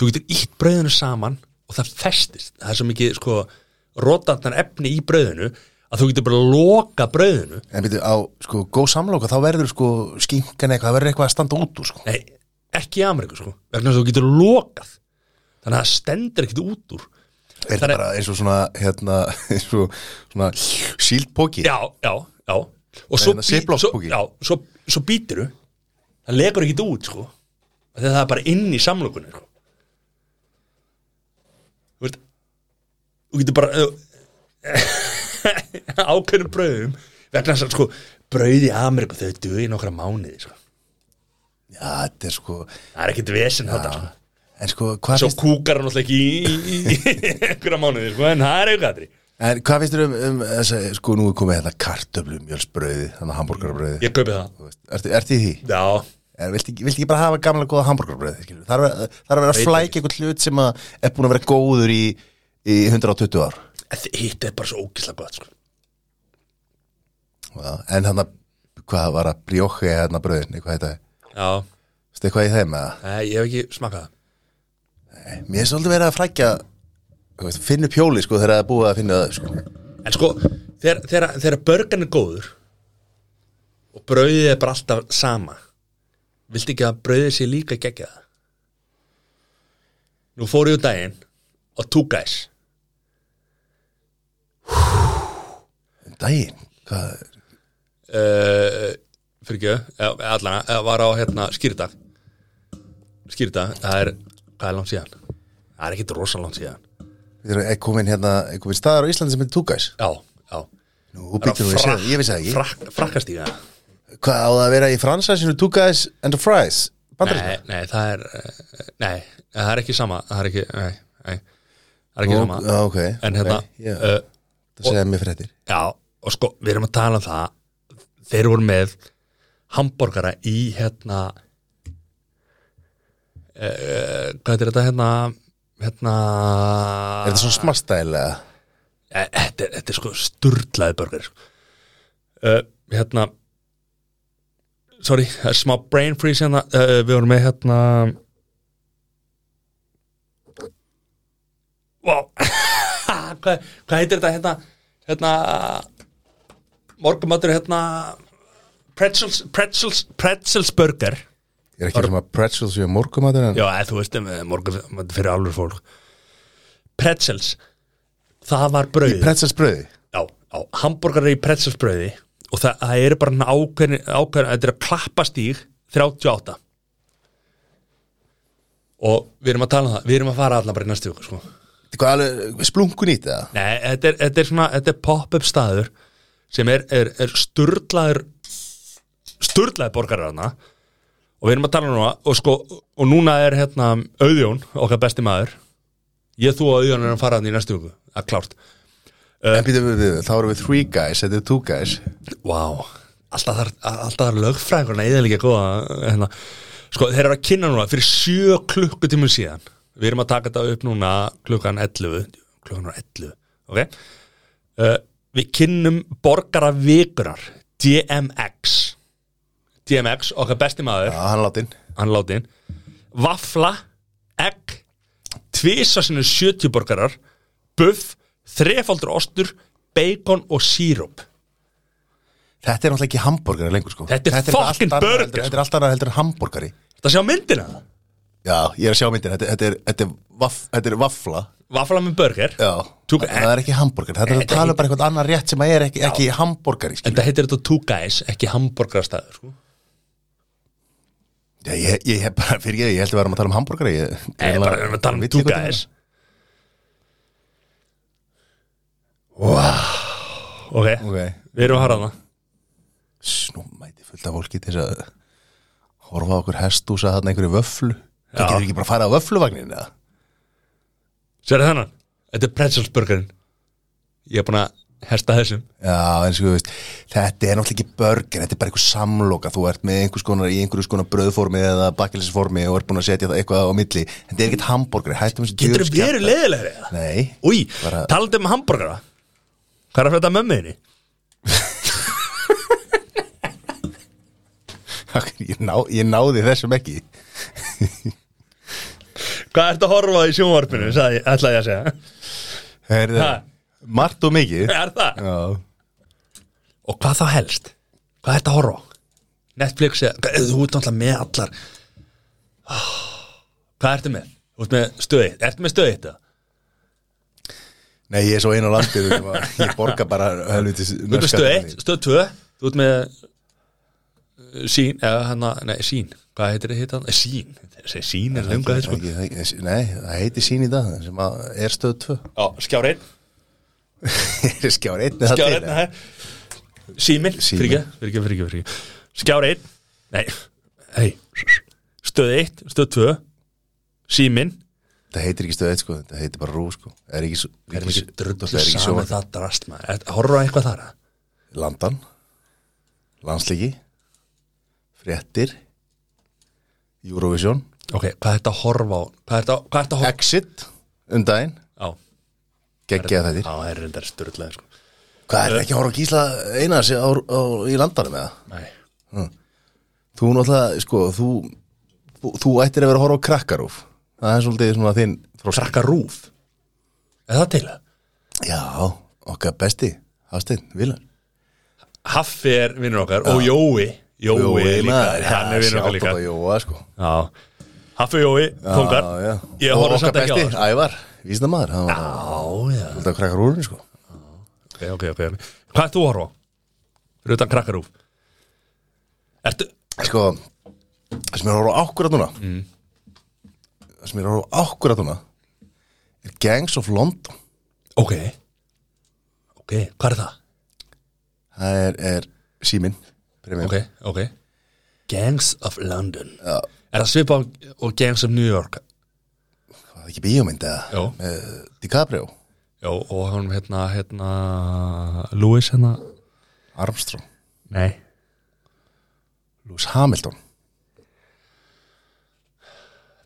Þú getur ítt brauðinu saman Og það festist Það er svo mikið sko Rótandan efni í brauðinu Að þú getur bara loka brauðinu En býtu, á sko góð samloka þá verður sko skinkan eitthvað, það verður eitthvað að standa út úr sko Nei, ekki í Ameríku sko vegna þess að þú getur lokað þannig að það stendur ekkit út úr Er það bara eins og svona, hérna, eins og svona síldpóki Já, já, já og svo, hérna, bý- Ziploc svo, púki. já, svo, svo býtiru það legur ekkit út sko Af því að það er bara inn í samlokunni sko. Þú veist þú getur bara ákveðnum brauðum vegna þess að sko brauð í Ameríku þau duði í nokkra mánuði sko. Já, þetta er sko það er ekkit vesen þetta sko En sko, hvað Svo kúkar hann alltaf ekki í, í, í, í einhverja mánuði, sko, en það er aukaðri. En hvað finnst þér um, um þessa, sko nú er komið hérna kartöflu mjölsbröði, þannig að hambúrgarbröði Ég kaupi það. yeah. Ertu, ertu í því? Já, Er, viltu, ekki- viltu ekki bara hafa gamla góða hambúrgarbröði? skilurðu? Það er að- það er að vera að Veit flækja eitthvað hlut sem að er búin að vera góður í, í 120 ár en þi- hitt er bara svo ógislega gott, sko. Já, En hann að, hvað var að brjóki hérna bröðin, eitthvað heita Já, Veistu eitthvað í þeim eða? nei, ég hef ekki smakað það. Mér er svolítið verið að flækja þú veist, finna upp hjóli sko þegar það er búið að finna það sko. En sko, þegar, þegar, þegar börgan er góður og brauðið er bara alltaf sama, viltu ekki að brauðið sé líka geggja það? Nú fór ég úr daginn og túkæs. Um Daginn, hvað er uh, fyrir ekki, eh, allan eh, var á hérna skýrdag skýrdag, það er hvað er langt síðan? Það er ekkit rosa langt síðan Við erum komin hérna, er komin staðar á Íslandi sem heitir Tugæs Já, já Nú, býttu nú, ég sé- ég vissi það ekki frak, Frakkastíga Hvað á það að vera í fransæsinu Tugæs and the Fries? nei, nei, það er eh, Nei, það er ekki sama Það er ekki, nei, nei Það er ekki sama Já, ok En hérna, Nei, já, uh, Það segja mér fyrir þetta já, og sko, við erum að tala um það Þeir voru með hamborgara í hérna uh, Hvað er þetta hérna Hérna Er þetta Ah. svona smartstælega? Eh, þetta, er- þetta er sko sturlaði burger uh, hérna sorry, það er smá brain freeze hérna, uh, við vorum með hérna wow hvað, hvað heitir þetta hérna hérna morgumatur hérna pretzels, pretzels, pretzels burger Ég er ekki sem að pretzels við morgumatur en já, eða, þú veist, eh, morgumatur fyrir alveg fólk pretzels það var brauð Pretzels bröði? Já, já, hambúrgar í pretzelsbröði og það, það eru bara hann ákveðin, ákveðin þetta er að klappa stíg 38 og við erum að tala um það við erum að fara allan bara í næstu viku sko. Þetta er hvað alveg splungun í þetta? Nei, þetta er, þetta er svona, þetta er pop-up staður sem er, er, er sturlaður sturlaður borgararna og við erum að tala um núna og sko, og núna er hérna auðjón, okkar besti maður ég þú og auðjón erum að fara hann í næstu viku að klárt Eh. En býtum við við, þá erum við three guys, þetta er two guys Vá, alltaf þar, alltaf þar lögfræðingurna eða líka góða hérna. Sko, þeir eru að kynna núna fyrir sjö klukkutímum síðan Við erum að taka þetta upp núna klukkan 11 Klukkan er 11, ok? Uh, við kynnum borgara vikurar DMX DMX, okkar besti maður, Já, hann látinn hann látin Vafla, egg Tvisa sinni 70 borgarar Buff, þrefaldur ostur bacon og síróp Þetta er náttúrulega ekki hambúrgari lengur sko Þetta er eitthvað fucking allt annað burger, heldur- sko. Þetta er alltaf heldur en hambúrgari Þetta sjá myndina það Já, ég er að sjá myndin, þetta, þetta, er, þetta, er, vaff, þetta er vafla Vafla með burger Já, Tú- en það er ekki hambúrgari Þetta er að Þetta tala um bara eitthvað annar rétt sem að er ekki, ekki hambúrgari En það heitir þetta two guys, ekki hambúrgarastæður sko. Já, ég, ég, ég bara fyrir ég, ég held að við varum að tala um hambúrgari Ég, Nei, ég bara erum við að tala um veit two ekki hvað guys þetta Wow Ok, er. Ok, við erum að harða það snúmæti fullt af fólki til þess að horfa á okkur hestúsa þarna einhverju vöflu Já. Það getur ekki bara að fara á vöfluvagnin eða? Sérðu þennan? Þetta er pretzelsburgerinn Ég er búin að hesta þessum Já, eins og þú veist, þetta er náttúrulega ekki burger, þetta er bara einhver samloka, þú ert með einhvers konar í einhvers konar bröðformi eða bakelisformi og ert búin að setja það eitthvað á milli, þetta er ekkert hambúrgar, hættum þessu Getur djöfulskjafta. verið leðilegri það? Nei, Új, Bara- talandi um hambúrgara Hvað er að frétta mömmuðinni? ég, ná, ég náði þessum ekki, Hvað ertu að horfa á í sjónvarpinu? Sagði, ætlaði ég að segja Herðu, Ha. margt og mikið, Er það? já, Og hvað þá helst? Hvað ertu að horfa á? Netflix eða Hvað- Þú ert náttúrulega með allar Ah, Hvað ertu með? Þú ert með stöðið Ertu með stöðið þetta? nei, ég er svo einu á landið, þú veist, maður- ég borga bara helvitis. Þú ert með stöð 1, stöð 2 Þú ert með uh, sín, eða hann að, nei, sín Hvað heitir þið hitt hann? Sín, þessi sín er löngu að þið sko sko. Nei, það heiti sín í dag, sem að er stöð 2, Já, skjár 1, skjár 1 skjár 1 það er Símin, Síminn. fyrir ekki, fyrir ekki, fyrir ekki Skjár 1, nei, hei Stöð 1, stöð 2 Símin Það heitir ekki stöð 1 sko, það heitir bara rú sko Er ekki, Er er mikið er drullu ekki saman sjónvarp. það drast maður Horra eitthvað þar að Landan Landsliki Fréttir Eurovision Ok, hvað ert að horfa á? Hvað ert að, hvað ert að horfa Exit um daginn á? Geggja Já, þetta það er reyndar styrlaði sko Hvað er ekki að horfa á gísla einar á, á, í landanum eða? Nei Þú náttúrulega, sko, þú þú- Þú ættir að vera að horfa á krakkarúf Það er svolítið svona þinn þrósk Krakka rúf Er það til það? Já, okkar besti Hafsteinn, Vilan Haffi er vinnur okkar og Jói Jói, er líka, hann er vinnur okkar líka Jóa, sko já. Haffi og Jói, kongar Já, já. Ég Og horfði okkar samt ekki á sko. Ah. besti, það Ævar, vísnamaður hann var Já, já, alltaf krakkar úr hún sko. ok, ok, ok Hvað ert þú að horfa? á? Fyrir utan krakkarúf Ertu, sko, það sem ég er að horfa á akkurat núna Mm. það sem ég er að horfa á akkurat núna er Gangs of London ok Ok, hvað er það? það er, er síminn premium. Ok, ok Gangs of London Já, Er það svipa og Gangs of New York? það er ekki bíómynd eða Jó, með DiCaprio, já, og hann hérna, hérna Louis hérna Armstrong Nei Lewis Hamilton,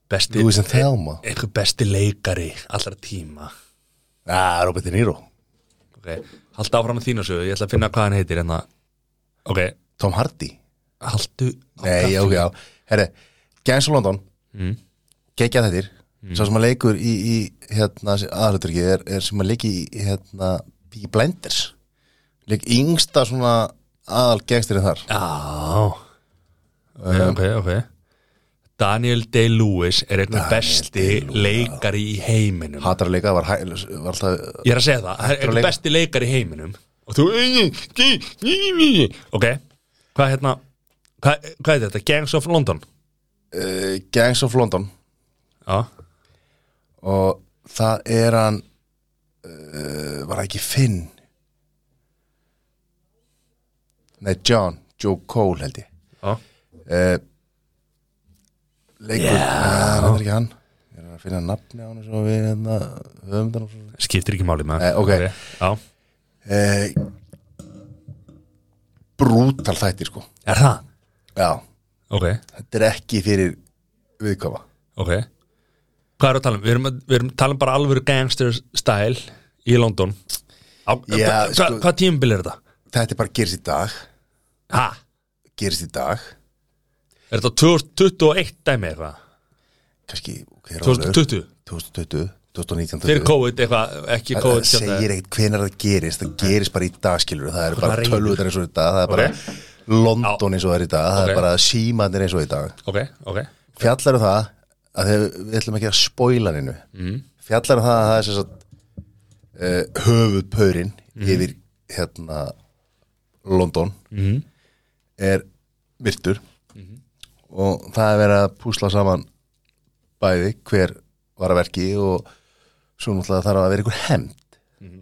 Besti Lewis and Thelma einhver besti leikari allra tíma ah, Robert De Niro, okay. halda áfram að þína sögu, ég ætla að finna hvað hann heitir en það, ok, Tom Hardy haldu Nei, já, já, herri Gangs of London, Mm. geggja þettir Sá sem að leikur í, í hérna, aðluturki er, er sem að leiki í, hérna, í Blenders Leik yngsta svona aðal gengstirinn þar já ok, ok, ok Daniel Day-Lewis er einhver besti leikari í heiminum Hatar að leika var, hæ- var alltaf ég er að segja það, hann er að leika. einhver besti leikari í heiminum og þú ok, hvað hérna hvað, hvað er þetta, Gangs of London uh, Gangs of London já, Og það er hann uh, Var það ekki Finn Nei, John Joe Cole held ég já uh, Leikur yeah. Það er ekki hann Ég er að finna nafni á hann sem við hérna, höfum þannig svo skiptir ekki máli með Nei, ok. já, eh, brútal þættir sko er það, já, ok þetta er ekki fyrir viðkoma Ok Hvað er að tala um? Við erum, við erum tala um bara alvöru gangster style í London á, Já, hva, sko- hva, Hvað tímabil er þetta? þetta er bara gerist í dag Ha? gerist í dag, Er þetta 2021 dæmi eitthvað? kannski ok, rólegur. 2020? 2020 fyrir 2019 COVID eitthvað, ekki Það COVID það segir ekkert hvenar það gerist það gerist bara í dag skilur það er bara reynir. tölvutar eins og í dag það er bara London eins og það er í dag það Ok. er bara símandir eins og í dag ok, ok, fjallar um það að þeir, við ætlum ekki að spoila hennu mm. fjallar um það að það er sem sagt uh, höfuðpörin yfir hérna London Mhm. er virtur Mhm. og það er verið að púsla saman bæði hver var að verki og svo náttúrulega þarf að vera einhver hemmt Mhm.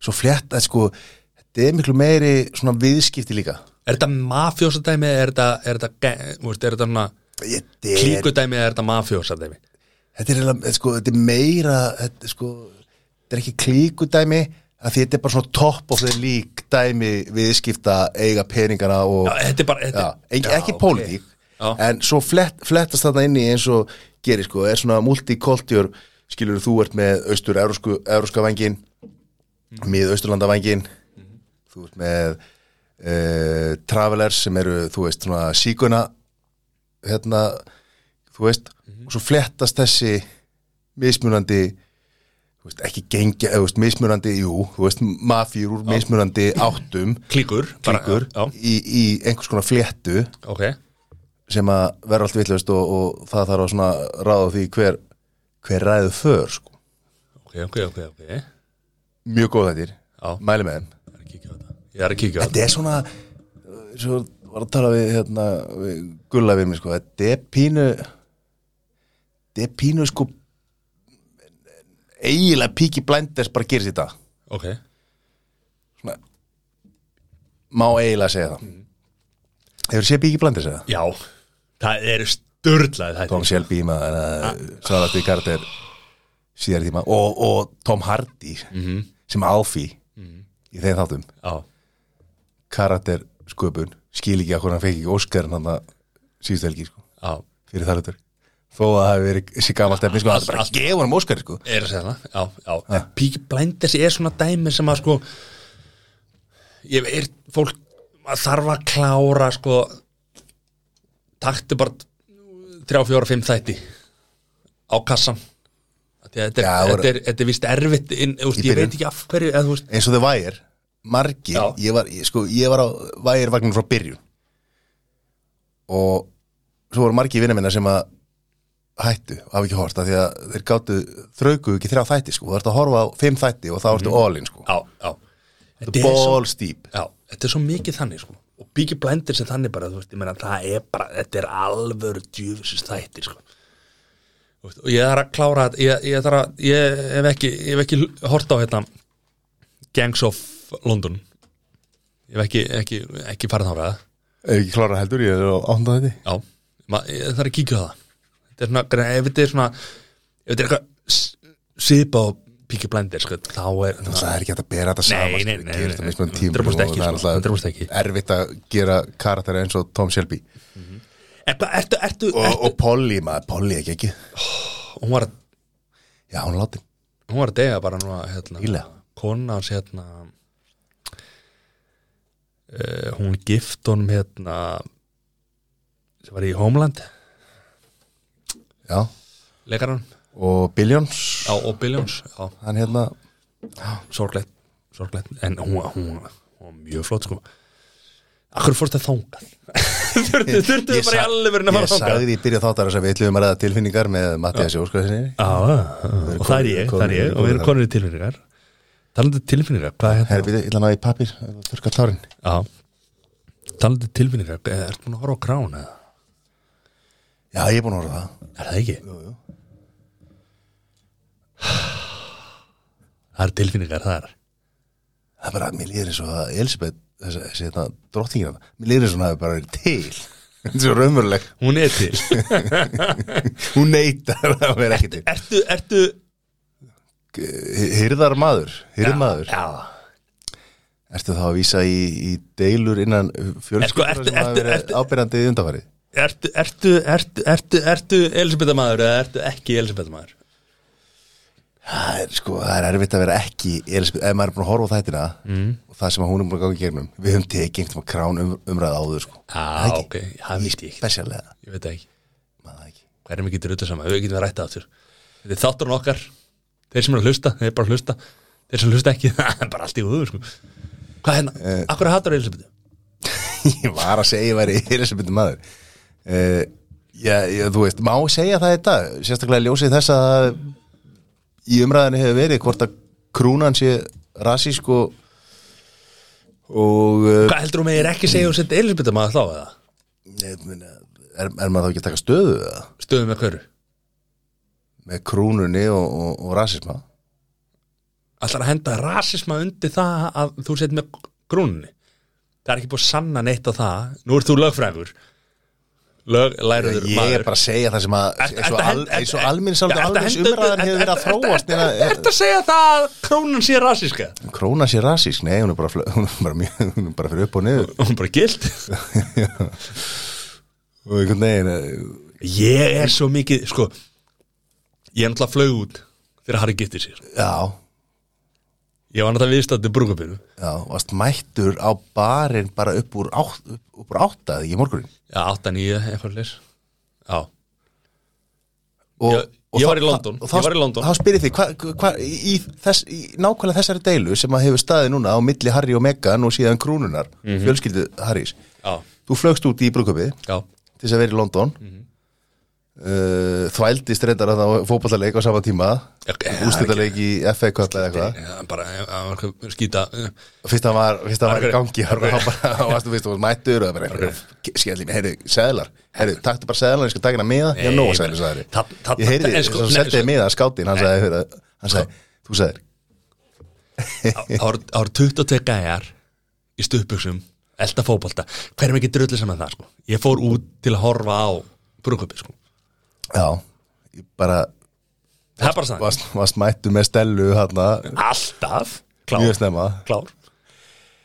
svo flett að sko þetta er miklu meiri svona viðskipti líka er þetta mafjósadæmi eða er þetta, er þetta, ge- þú veist, er þetta svona Þetta er- klíkudæmi eða er þetta mafjósadæmi þetta er, eiginlega, sko, þetta er meira þetta, er sko, þetta er ekki klíkudæmi að því þetta er bara svona topp og þeir lík dæmi viðskipta eiga peningana og Já, þetta er bara, já, þetta en, Já, ekki ok. pólitík Já. en svo flett, flettast þarna inni eins og gerir sko, er svona multikultjör skilur þú ert með austur euróska vangin Mhm. mið austurlanda vangin þú ert með uh, travelers sem eru þú veist svona síkuna hérna þú veist Mhm. og svo flettast þessi mismunandi þú veist, ekki gengja, þú veist, mismunandi jú, þú veist, mafjur úr mismunandi áttum klíkur, bara, klíkur já, í, í einhvers konar fléttu ok, sem að vera allt vitlaust og, og það þarf að svona ráða því hver, hver ræðu för sko. ok, ok, ok, ok ég mjög góð þættir, Já. mæli með þeim er að kíkja á þetta, ég er að kíkja á þetta þetta er svona svo var að tala við, hérna, við gulla við mig sko, þetta er pínu þetta er pínu sko eiginlega píki blinders bara gerist þetta ok, svona má eiginlega segja það Mhm. hefur séð píki blinders eða? já það eru sturdlaði þetta Tom Shelby maður að Sara D. Carter síðar í tíma og, og Tom Hardy sem Alfie í þeim þáttum já, karakter sköpun skil ekki að hvernig hann fekk ekki Óskarinn hann að síðustu helgi sko, já, fyrir þar hlutur þó að það hefur verið sér gamalt efni sko, það er bara að gefa hann um Óskar sko. Er að segja það, já, já En Peaky Blinders er svona dæmi sem að sko Ég er fólk að þarf að klára sko Taktu bara 3, 4, 5 þætti Á kassan Af því að Þetta er, Já, voru- þetta er, þetta er vist erfitt inn, úst, Ég byrjun. veit ekki af hverju eða, þú veist, eins og þau vægir margir, Já. ég var, ég, sko, ég var á vægirvagnum frá byrjun og svo voru margir vinna minna sem að hættu, hafa ekki hort, af því að þeir gátu þrauku ekki þrjá þætti, sko, þú ert að horfa á fimm þætti og þá ertu all in, sko Já, já Þetta er Mhm. svo, balls deep já, þetta er svo mikið þannig sko Og Peaky Blinders er þannig bara, þú veist, ég meina það er bara, þetta er alvöru djöfisins þættir sko Þú veist, og ég þarf að klára þetta ég, ég þarf að, ég hef ekki, ég hef ekki hort á hérna Gangs of London ég hef ekki, ekki, ekki farið þárað Ef ekki klára heldur, ég er á ánda þetta já, ma, ég þarf að kíkja á það þetta er svona, grein- ef þetta er svona ef þetta er eitthvað s- svipa á Peaky Blinders, sko, þá er Það er ekki hægt að bera þetta saman Nei, sko, nei, það nei, gerist nei, á mismunandi nei, tímum 100% og ekki, það er sko, náttúrulega 100% ekki. Erfitt að gera karakter eins og Tom Shelby er, hvað- ertu, ertu, Og, ertu og Polly, maður, Polly ekki ekki hún var, að- Já, hún láti hún var að dega bara nú að hérna, Nýlega. kona hans hérna uh, hún gift honum hérna sem var í Homeland Já, leikarann og Billions á Obillions já, Hann hérna sorglegt, sorglegt en hún, hún, hún var mjög flott sko Akkur fórst það þangað Þurftu þurftu Ég bara í sa- alveg verðin að Ég fara þangað sagði í byrja þáttar þess að við ætlum að ræða tilfinningar með Mattiasi Óskarsinni Já, já, og það er ég, það er ég og við erum konur í tilfinningar Talandi um tilfinningar, hvað er Herri, hérna? býta, ég ætla að ná í pappir, þurka tárin Já Talandi um tilfinningar, ertu búin að horfa á krán eða? Já, ég er búin að horfa á það Er það ekki? Jú, jú Það er tilfinningar þar Það er bara, mér líður eins og að Elisabeth, þessi, þessi hérna, drottningin hana Mér líður eins og hún hafi bara verið til Þetta er svo raumurleg Hún er til Hún neytar að vera ekki til Ertu, ertu Hyrðar maður, hyrðmaður Já, Ertu þá að vísa í, í deilur innan fjölskyldur sko, ertu- sem hafa ertu- verið ertu- ábyrjandi í undanfarið ertu, ertu, ertu, ertu, ertu Elisabethamaður eða ertu ekki Elisabethamaður? Það er sko, það er erfitt að vera ekki Elisabeth, ef maður er búin að horfa á þættina Mm. og það sem að hún er búin að ganga í gegnum við höfum tekið einhvern veginn krán um, umræð áður sko. Já, Það ekki. ok, það veit ég ekki Spesialega Ég veit það ekki, Maður það ekki. hvernig við getum rutað saman, við getum að rætta það aftur Þetta er þátturinn okkar, þeir sem eru að hlusta, þeir bara hlusta þeir sem hlusta ekki, það er bara allt í húðu sko. hvað hérna, Eh. akkur hattar Elisabethu? ég var að segja ég væri Elisabeth maður uh, já, já, þú veist, má segja það í dag sérstaklega ljósið þess að í umræðinu hefur verið hvort að krúnan sé rasísk og og uh, hvað heldur þú með ég ekki segja og setja Elisabethu maður þá eða? ég meina, er, er maður þá ekki að taka stöðu eða? stöðum með hverju? með krúnunni og, og, og rasisma Ætlar að henda rasisma undir það að þú sett með grunni það er ekki búið að sanna neitt á það nú ert þú lögfræður lög, læriður ég er bara að segja það sem að eins og al- eins og alminn samt alveg umræðan hefur verið að þróast nema, Er þetta að segja það að krónan sé rasíska? eh, króna sé rasísk, nei hún er bara, flö- hún er bara, mjög, hún er bara fyrir upp og niður Hún bara gilt og einhvern veginn eh, Ég er svo mikið, sko Ég er náttúrulega flög út þegar Harry gifti sér já, Ég var náttúrulega viðstættu brúkabinu já, varst mættur á barinn bara upp úr, átt, upp úr áttaði í morgunin Já, 8-9, eitthvað leys Já, og, Ég- ég þá- var í London. og þá- Ég var í London. þá spyrir því, hvað hva, í, í, þess, í nákvæmlega þessari deilu sem að hefur staðið núna á milli Harry og Meghan og síðan krúnunar, Mhm. fjölskyldu Harrys já, þú flögst út í brúkupið já til þess að vera í London mm Mhm. -hmm. uh, þvældist reyndar að það fótballaleik á sama tíma ústættaleik í FA Cup eða eitthvað Já, bara að var eitthvað skýta eh, fyrst hann var, fyrst hann var í Akkur- gangi þá akkur- bara- þá varstu fyrst og mættur og það var eitthvað skellin, heyrðu, seðlar heyrðu, taktu bara seðlar, ég skal taka hérna miða ég Nei, er nóg að ég seðlar, meina, sagði þarna- þarna- ég heyrði, en þess sko, að nei, setja sko- miða skáttinn, hann sagði heyrðu, hann sagði, þú sagðir Það voru- það voru 22 gæjar í stuðbuxum elda fótbolta Hver er mikið drullið saman það, sko Ég fór út til að horfa á brúkabinu, sko já, ég bara Það er bara sann varst, varst mættur með stelu hérna, Alltaf Klár, mjög snemma klár.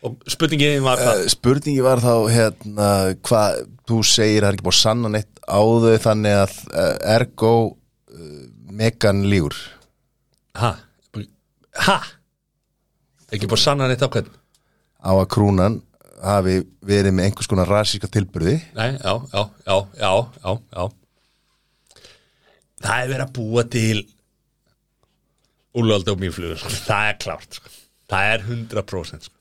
Og spurningin var það Eh, spurningi var þá hérna, hvað þú segir það er ekki búið að sanna neitt á þau þannig að uh, ergo uh, megan lígur Eh. Hæ? Hæ? Ekki búið að sanna neitt á hvern? á að krúnan hafi verið með einhvers konar rasíska tilbyrði Nei, já, já, já, já, já, já Það er verið að búa til Úlöld og mýflugur sko. Það er klárt sko. Það er 100% sko.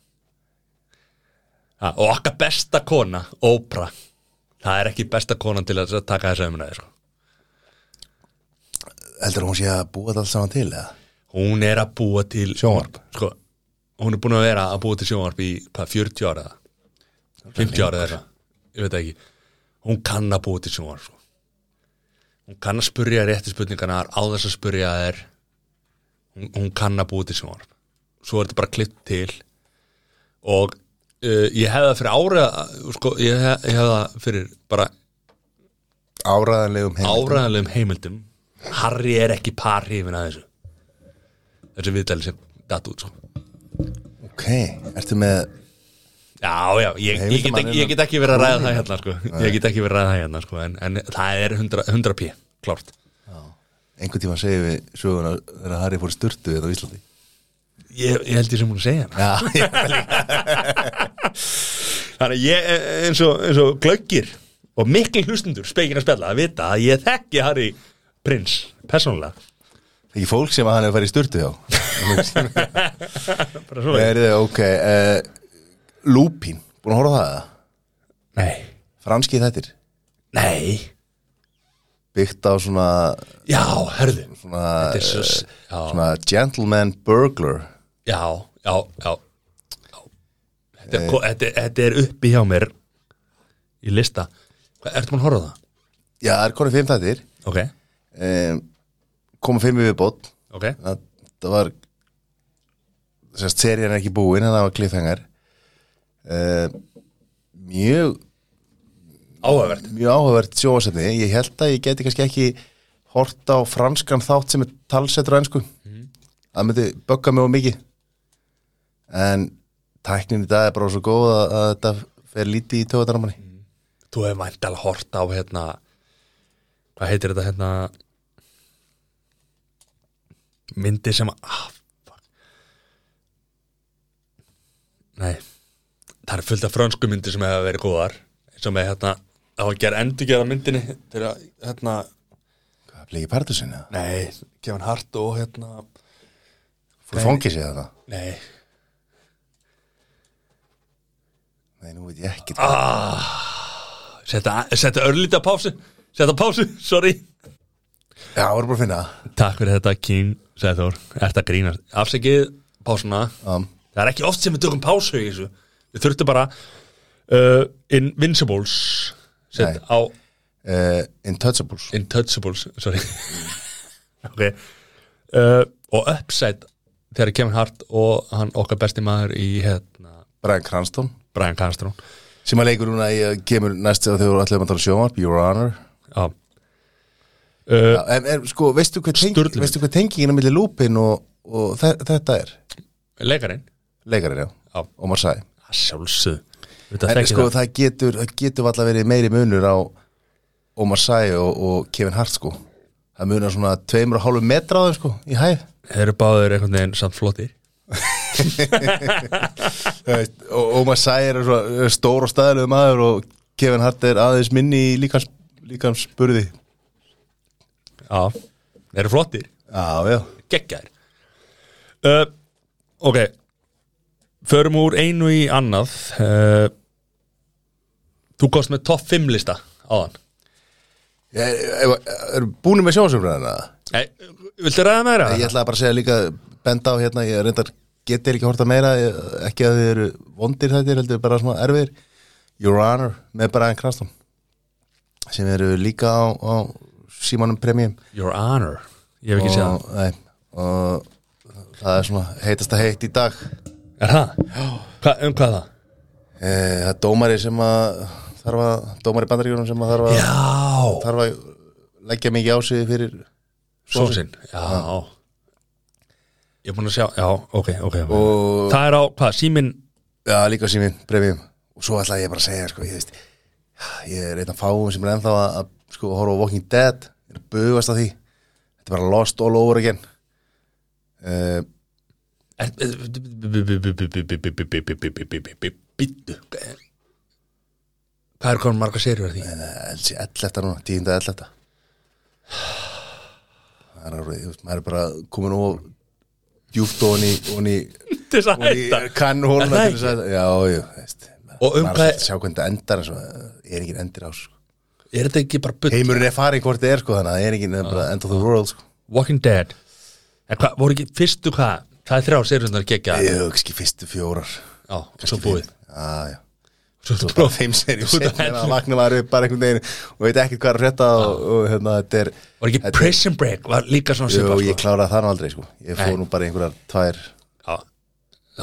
ha, Og okkar besta kona Ópra Það er ekki besta konan til að taka þessa umræði sko. heldur hún sé að búa þetta alls saman til eða? Hún er að búa til Sjónvarp. sko, Hún er búin að vera að búa til sjónvarp í hvað, 40 ára eða? 50 ára eða eitthvað, Ég veit það ekki Hún kann að búa til sjónvarp sko. Hún kann að spurja rétti spurningarnar á þess að spurja þær hún, hún kann að búa til sjónvarp Svo er þetta bara klipp til og uh, ég hefði það fyrir ára sko, ég, hef, ég hefði það fyrir bara áraðanlegum heim áræðanlegum heimildum Harry er ekki par hrifin að þessu þessu viðdæli sem datt út sko. ok, ertu með já, já, ég, ég, get ekki, ég get ekki verið að ræða það hérna sko. ég get ekki verið að ræða það hérna sko. en, en það er 100, 100 p, klárt einhvern tíma segir við söguna þegar Harry fór í styrtu þetta á Íslandi ég, ég held ég sem hún að segja hana já, já, þannig að ég eh, eins og, eins og glöggir og mikil hlustundur spekin að spjalla að vita að ég þekki Harry prins, persónulega ekki fólk sem að hann hefur farið í styrtu hjá bara svo Heyrðu, ok, uh, Lupin búin að horfa á það eða? nei, franski þættir nei, byggt á svona, já, hörðu svona, Þetta er svo s- já. svona gentleman burglar Já, já, já, já. Þetta, er, ko- þetta, þetta er uppi hjá mér í lista Hvað, Ertu maður að horfa á það? já, það er konið fimm þættir Ok, um, komið fimm við bótt ok það, það var sérst, serían er ekki búin en það var cliffhanger um, mjög Áhugavert mjög áhugavert sjóðsefni ég held að ég geti kannski ekki horta á franskan þátt sem er talsettur á ennsku það myndi bögga mig og mikið en tæknin í dag er bara svo góð að, að þetta fer lítið í töðataramanni Þú hefur væntal hort á hérna Hvað heitir þetta hérna Myndi sem að ah, fuck. Nei Það er fullt af frönsku myndi sem hefur verið góðar eins og með hérna á að gera endurgerða myndinni til að hérna Hvað, Bliki Pardusinn eða? Nei, Kevin Hart og hérna Þú fangir sér þetta? Nei, Nei, nú veit ég ekki setta, setta örlítið að pásu Setta pásu, sorry Já, voru bara að finna það. Takk fyrir þetta, King Sæþór Ert að grínast Afsækið pásuna um, Það er ekki oft sem við tökum pásu í þessu Við þurftum bara uh, Invincibles Sett Nei. á uh, Intouchables Intouchables Sorry Ok uh, Og Upside Þegar Kevin Hart og hann okkar besti maður í hérna Brian Cranston Brian Carstrón sem að leikur núna í uh, kemur næst þegar þau voru allir um að tala sjónvarp Your Honor Já uh, Já, en, en sko, veistu hvað, teng, Sturlu mynd. veistu hvað tengingin er milli lúpin og, og þe þetta er Leikarinn leikarinn, já, Já. Omar Sai Sjálfsög Þetta en þekki sko, það það getur, það getur alltaf verið meiri munur á Omar Sai og, og Kevin Hart sko það munar svona tveimur og hálfu metra á þeim sko í hæð Þeir eru báður einhvern veginn samt flottir Þú veist, og Omar Sai er svona stór og staðilegu maður og Kevin Hart er aðeins minni í líkans, líkans burði Já Þeir eru flottir já, já, geggjaðir uh, ok förum úr einu í annað uh, þú komst með topp 5 lista áðan erum er, búinu með sjónsumræðina það? Nei, viltu ræða meira? Ég ætlaði bara að segja líka benda á hérna, ég reyndar getur ekki horta meira, ég, ekki að þið eru vondir þetta, heldur bara svona erfiðir Your Honor með Brian Cranston sem eru líka á, á Símanum Premium Your Honor ég hef ekki séð það og, nei, og það er svona heitasta heitt í dag er það? Hva, um hvað er það? e, það er dómari sem að þarf að, dómari bandaríkjunum sem að þarf að, já, þarf að leggja mikið á sig fyrir sósin já ég er búin að sjá, já, ok, ok, ok og það er á, hvað, símin Já, líka síminn, premium Og svo ætlaði ég bara að segja, sko, ég veist Ég er einn af fáum sem er ennþá að, að sko, horfa á Walking Dead Ég er að bugast að því Þetta er bara lost all over again uh, eh, bittu hvað er komin marga serjur að því? LC 11 núna, 10. 11 Það er alveg, þú veist, maður er bara komin og djúpt og í, ofan í, til þess að ofan í hætta Er kannhóluna það til þess að Já, jú, þú veist Og um maður er hvað- alltaf að sjá hvernig þetta endar en svo, eh, er ekki endir á sko. er þetta ekki bara bull heimurinn er farið hvort þið er sko þannig að það er ekki bara end of the world sko. Walking Dead en hvað, voru ekki fyrstu hvað það er þrjá seriðunar gegja já, Jú, kannski fyrstu fjórar og svo búið Já, já svo Svo bara fimm serjum Þú ert að seinna en hella. að vakna maður upp bara einhvern veginn og veit ekkert hvað er að frétta og, og hérna þetta er voru ekki þetta er- Prison Break var líka svona Jú, svipa ég sko. kláraði það nú aldrei sko Ég Nei. fór nú bara einhverjar tvær Já.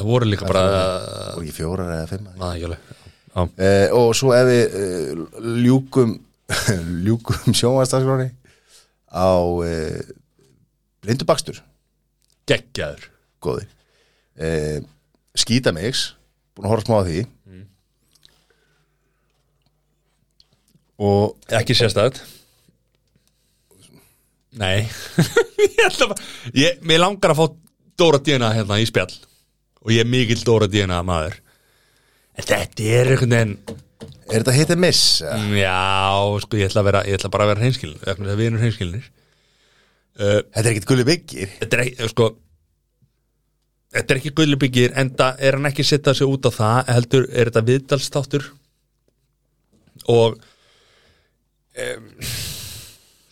það voru líka bara Ah, og ekki fjórar eða fimm maður ekki alveg Já. eh, Og svo ef við eh, ljúkum ljúkum sjónvæðstakskráni á eh, blindubakstur geggjaður góði eh, skítamix búin að horfa smá á því Mm. og ekki sérstæð nei ég ætla bara ég, mér langar að fá Dóra DNA hérna í spjall og ég er mikill Dóra DNA maður en þetta er einhvern veginn er þetta hit and miss? Mm. já, sko, ég ætla, að vera, ég ætla bara að vera hreinskilin vegna þess að við erum hreinskilinir uh, Þetta er ekkert gulli byggir þetta er ekki, sko þetta er ekki guðlubyggir enda er hann ekki sittað sér út á það heldur er þetta viðdalstáttur og um,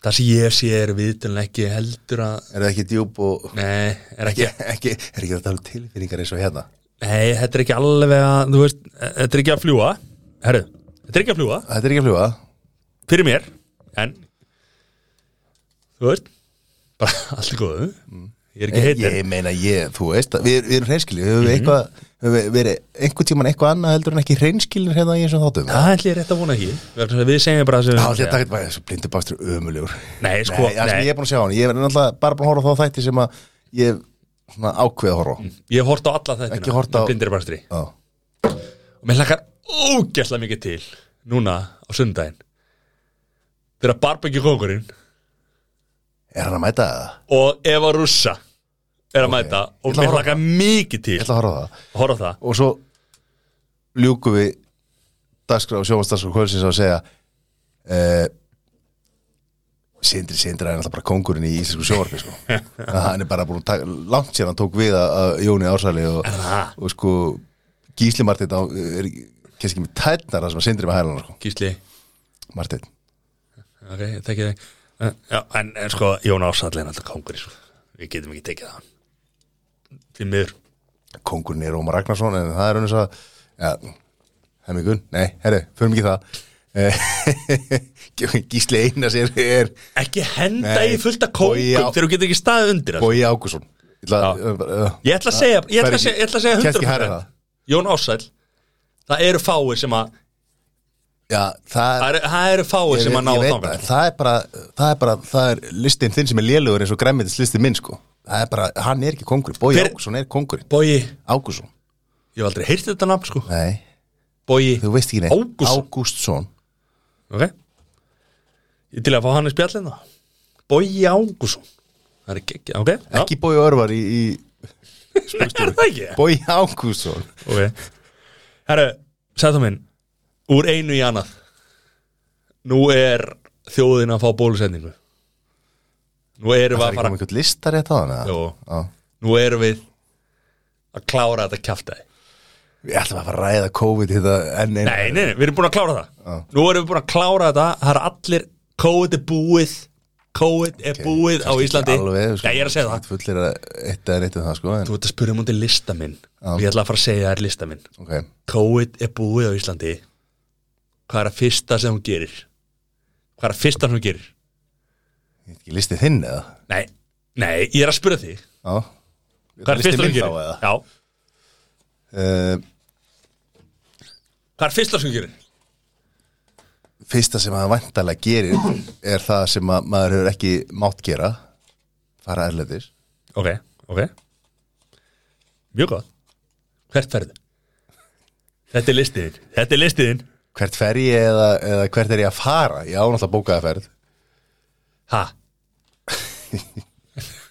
það sem ég sé er viðdalin ekki heldur að Er það ekki djúb og nei, er ekki, ekki, er ekki að tala um tilfinningar eins og hérna nei, þetta er ekki alveg að þú veist, þetta er ekki að fljúa herru, þetta er ekki að fljúa Þetta er ekki að fljúa fyrir mér en þú veist bara allt er góðu ég er ekki heitir Ég meina ég, þú veist að, við, við erum hreinskilin, við höfum Mhm. eitthvað höfum við verið einhvern tíman eitthvað annað heldur en ekki hreinskilin hérna í eins og þáttum Það ætlum ég rétt að vona ekki vegna þess að Við segjum bara sem við Já, höfum að þetta segja. er bara þessu blindu bakstur ömulegur Nei, sko, Nei, það sem ég nei, er búin að sjá hann Ég er náttúrulega bara búin að horfa á þá þætti sem að ég svona ákveð að horfa á. ég hef hort á alla þetta Ekki horft á- Blindir barstri Já. Og mér hlakkar ógæslega mikið til Núna á sundaginn Þegar barbeki kókurinn Er hann að mæta það? Og Eva Russa Er að mæta Ég ætla Og að horfa mér á hlakkar mikið til Ég ætla að horfa á það Horfa á það Og svo ljúkum við dagskrá og sjómanstagskrá kvöldsins á að segja eh, Sindri Sindra er náttúrulega bara kongurinn í íslensku sjóarfi sko. hann er bara búin að taka, langt sér hann tók við að, að Jóni Ársæli og, það? og sko Gísli Marteinn á- er kannski ekki með tætnar það sem að Sindri með hælana sko. Gísli, Marteinn, ok, ég tekið þig Uh, Já, en, en sko, Jón Ásall er alltaf kongur í svo Við getum ekki tekið það Því miður kongurinn er Ómar Ragnarsson en það er hann þess að ja, hemmingun, nei, herri, förum ekki í það Eh, Gísli Einars er, er Ekki henda Nei, í fullta Bogi kókum á- þegar þú getur ekki staðið undir það Bói Ákusson Ég ætla, Já. uh, Ég ætla að segja, fer ég ætla að ekki- segja, ég ætla að segja kemst ekki 100% hærra það. Jón Ásall Það eru fáir sem að já, það Það eru- það eru fáir sem að ná ég veit þangað. sko. það, það er bara, það er bara, það er listin þinn sem er lélugur eins og græmiðis listin minn sko það er bara, hann er ekki kongur, Bói Hver- Ákusson er kongur Bogi, Ákusson, ég hef aldrei heyrt þetta nafn sko nei, Bogi, þú veist ekki neitt Ágústsson. Ágústsson, ok Ég til að fá hann í spjallin það Bogi Ágússon Það er ekki, ok já. ekki Bói Örvar í, í Nei, er það ekki Bói Ágústsson Ok Herru, sættu minn Úr einu í annað Nú er þjóðin að fá bólusendingu Nú það er erum við að ekki fara komið einhvern lista rétt á hana Jó, Já. nú erum við að klára þetta kjaftaði við ætlum að fara að ræða COVID hérna enn einu Nei, nei, nei, við erum búin að klára það Nú erum við búin að klára þetta Það er allir, COVID er búið COVID er búið á Íslandi alveg, Já, ég er að segja það fullir að eitt eða neitt um það sko en, Þú ert að spyrja múti lista minn Ég ætla að fara að segja þér lista minn okay. COVID er búið á Íslandi Hvað er að fyrsta sem hún gerir? Hvað er að fyrsta sem hún gerir? Ég veit ekki listið þinn eða? Nei, nei, ég er að spyrja því Já. Hvað er Listið fyrsta sem hún minn þá, gerir? eða? Já, Uh, hvað er fyrsta sem hún gerir? fyrsta sem maður vantarlega gerir er það sem að maður hefur ekki mátt gera fara erlendis Ok, ok Mjög gott Hvert ferðu? Þetta er listiðin Þetta er listiðin hvert fer ég eða, eða hvert er ég að fara ég án alltaf bókaða ferð Ha?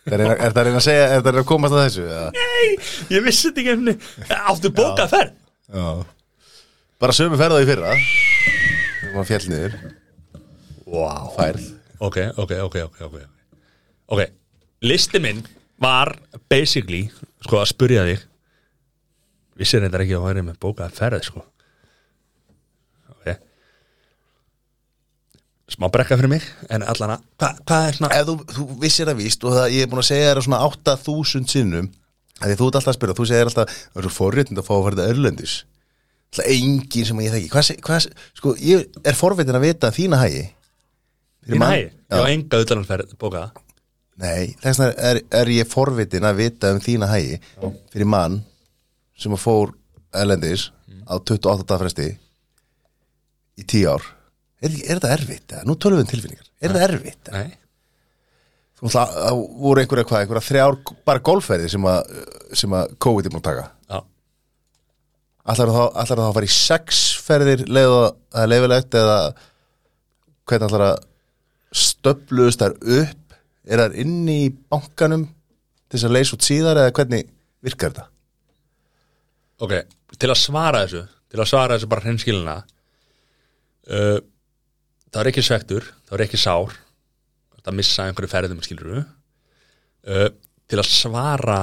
er það að reyna að segja, er það að reyna að komast að þessu eða? Nei, ég vissi þetta ekki einhvernig Áttu bókað ferð? já bara sömu ferða í fyrra þegar maður fjall niður Vá færð Ok, ok, ok, ok Ok, okay. listi minn var basically sko að spurja þig Vissir þetta ekki að væri með bókað ferð sko Ok Smá brekka fyrir mig En allana, hvað hva er svona ef þú, þú vissir að víst og það, ég er búin að segja þér svona 8000 sinnum að því þú ert alltaf að spyrja, þú segir alltaf það er svo forréttind að fá að fara þetta örlendis alltaf engin sem ég þekki hvað, se- hvað, se- sko, ég er forréttin að vita þína hægi Fyrir Þín mann- hæg? Já, enga utanlandsferð bókaða nei, þess vegna er, er ég forréttin að vita um þína hægi fyrir mann sem að fór örlendis á 28. daga fresti í 10 ár er, er það erfitt? eða? Nú tölum við um tilfinningar er það erfitt? eða? Nei Þú ætla, það voru einhverja hvað, einhverja þrjár bara golfferði sem að, sem að COVID er búin að taka. Já, Ætlar þá, ætlar þá að fara í sex ferðir leið og það er leifilegt eða hvernig ætlar að stöfluðust þær upp, er þær inni í bankanum til þess að leysa út síðar eða hvernig virkar þetta? ok, til að svara þessu til að svara þessu bara hreinskilina uh, það er ekki svektur það er ekki sár það missa einhverju ferðum skilur við uh, til að svara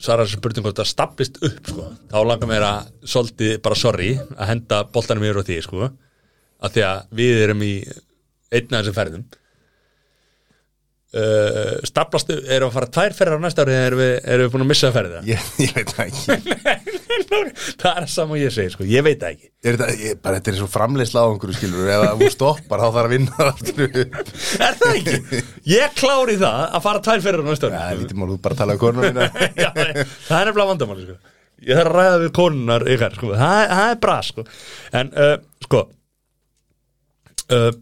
svara þessu spurningu hvort það staplist upp sko. þá langar mér að svolítið bara sorry að henda boltanum yfir á því sko. að því að við erum í einna þessum ferðum uh, staplast upp- erum við að fara tvær ferðar á næsta ári eða erum við, erum við búin að missa ferðið Ég, ég veit það ekki. það er saman ég segi sko, ég veit það ekki Er þetta, ég, bara þetta er svo framleiðsla á einhverju skilur ef að hún stoppar þá þarf að vinna það aftur upp. er það ekki? ég klári það að fara tvær fyrir á næsta ári Það er lítið mál, þú bara talaði konuna mína. Já, það er nefnilega vandamáli sko. ég þarf að ræða við konunar ykkar sko. það, er- það er bra sko. en uh, sko uh,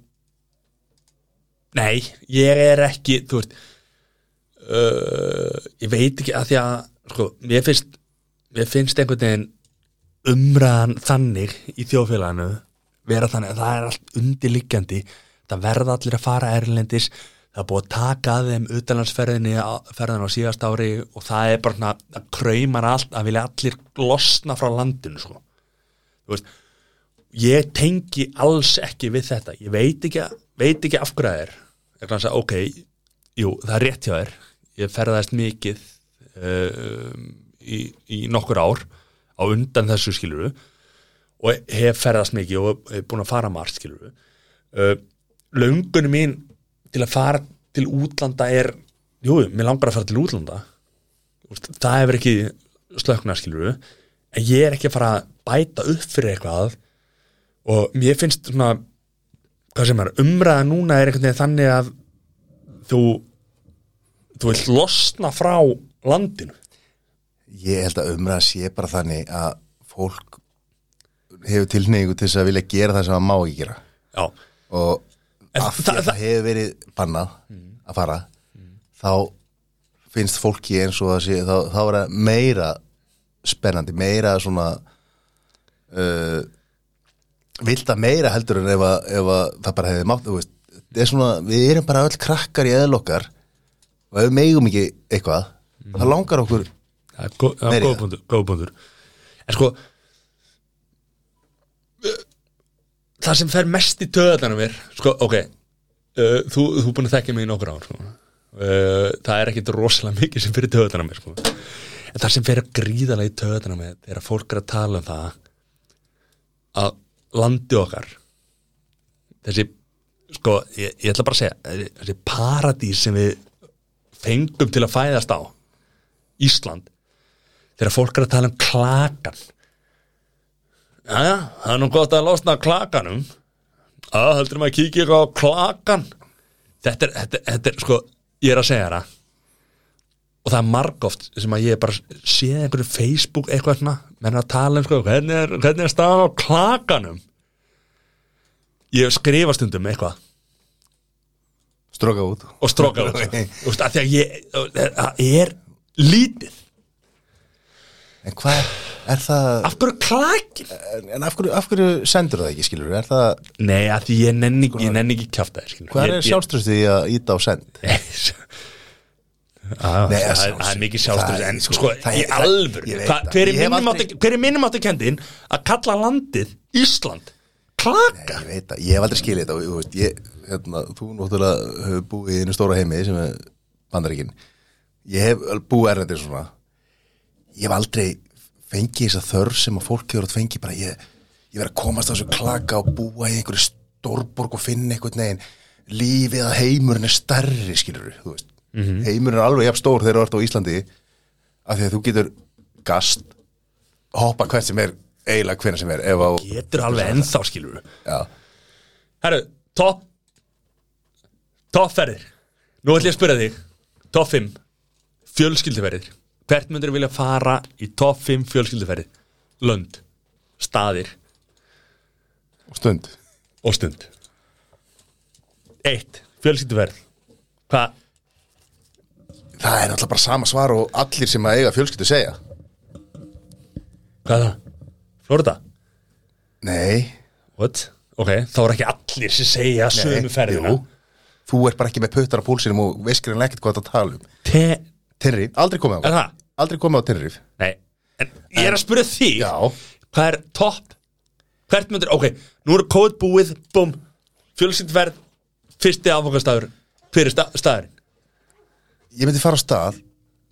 nei, ég er ekki þú veist uh, ég veit ekki að því að sko, mér finnst mér finnst einhvern veginn umræðan þannig í þjóðfélaginu vera þannig að það er allt undirliggjandi það verða allir að fara erlendis það er búið að taka að þeim utanlandsferðinni á- ferðin á síðast ári og það er bara svona að kraumar allt að vilja allir glosna frá landinu sko. Þú veist, ég tengi alls ekki við þetta ég veit ekki, veit ekki af hverja það er vegna þess að ok jú, það er rétt hjá þér ég ferðast mikið uh, í, í nokkur ár á undan þessu skiluru og hef ferðast mikið og hef búin að fara margt skiluru uh, löngunum mín til að fara til útlanda er jú, mér langar að fara til útlanda Úst, það hefur ekki slöknað skiluru en ég er ekki að fara að bæta upp fyrir eitthvað og mér finnst svona hvað sem er, umræða núna er einhvern veginn þannig að þú þú vilt losna frá landinu Ég held að umræða sé bara þannig að fólk hefur tilneigu til þess að vilja gera það sem það má ekki gera já, og En af því það- að það hefur verið bannað að fara þá finnst fólki eins og það sé þá, þá er það meira spennandi, meira svona uh, vilda meira heldur en ef, að, ef að það bara hefði mátt þú veist, þetta er svona, við erum bara öll krakkar í eðlokkar og ef við megum ekki eitthvað þá langar okkur það er, gó- það Meiri er það. góðbundur, góðbundur en sko það sem fer mest í töðanum er sko, ok uh, þú, þú er búin að þekka mig í nokkur ár sko. uh, það er ekkit rosalega mikið sem fyrir töðanum er sko. en það sem fer gríðalega í töðanum er, er að fólk er að tala um það að landi okkar þessi sko, ég, ég ætla bara að segja þessi paradís sem við fengum til að fæðast á Ísland þegar fólk er að tala um klakan Jæja, það er nú gott að losna að klakanum að heldur maður að kíkja eitthvað á klakan þetta er, þetta, þetta er sko ég er að segja það og það er margóft sem að ég bara séð einhverju Facebook eitthvað svona menn að tala um sko, hvernig er, hvernig er staðan á klakanum ég skrifa stundum eitthvað stróka út og stróka út Þú veist, af því að ég, það er lítið en hvað er, er það af hverju klakin en- en af hverju, af hverju sendur það ekki skilur er það, Nei, að því ég nenni, ég nenni ekki kjáft að þér hvað er sjálfströstið í að íta á send Nei, að Ah, Það sjálfsögðu. það er mikið Það sjálfströð er- En sko, sko, það í er- það- alvöru ég veit hvað- það. Hver er Ég hef minnumáttu- aldrei- hver er minnumáttakendin að kalla landið Ísland Klaka ég veit það, ég hef aldrei skilið þetta og, þú veist, ég, hérna, þú náttúrulega hefur búið í einu stóra heimi sem er bandaríkin ég hef búið erlendir svona ég hef aldrei fengið þessa þörf sem að fólk hefur átt fengið bara ég, ég verið að komast á þessu klaka og búa í einhverju stórborg og finna einhvern veginn lífið að heimurinn er stærri skilur þú veist heimurinn er alveg jafn stór þegar þú ert á Íslandi af því að þú getur gast hoppa hvert sem er eiginlega hvernig sem er ef á Getur alveg ennþá skilur já Herru, topp Toppferðir Nú ætlum ég að spyrja þig Topp 5 Fjölskylduferðir Hvert myndir vilja fara í topp 5 fjölskylduferðir Lönd Staðir og stund og stund Eitt, fjölskylduferð Hvað? Það er náttúrulega bara sama svar og allir sem að eiga fjölskyldu segja Hvað er það? Florida? Nei, What? Ok, þá er ekki allir sem segja sömu ferðina Eh, jú. þú ert bara ekki með puttar á púlsinum og veist greinlega ekkert hvað það tala um Te... Tenrif, aldrei komið á Er það? Aldrei komið á Tenrif Nei, en ég er að spyrja því Já. Hvað er topp? Hvert myndir, ok, nú er kóð búið Búm, fjölskyldverð Fyrsti afvokastafur Hver er sta staðurinn? Ég myndi fara á stað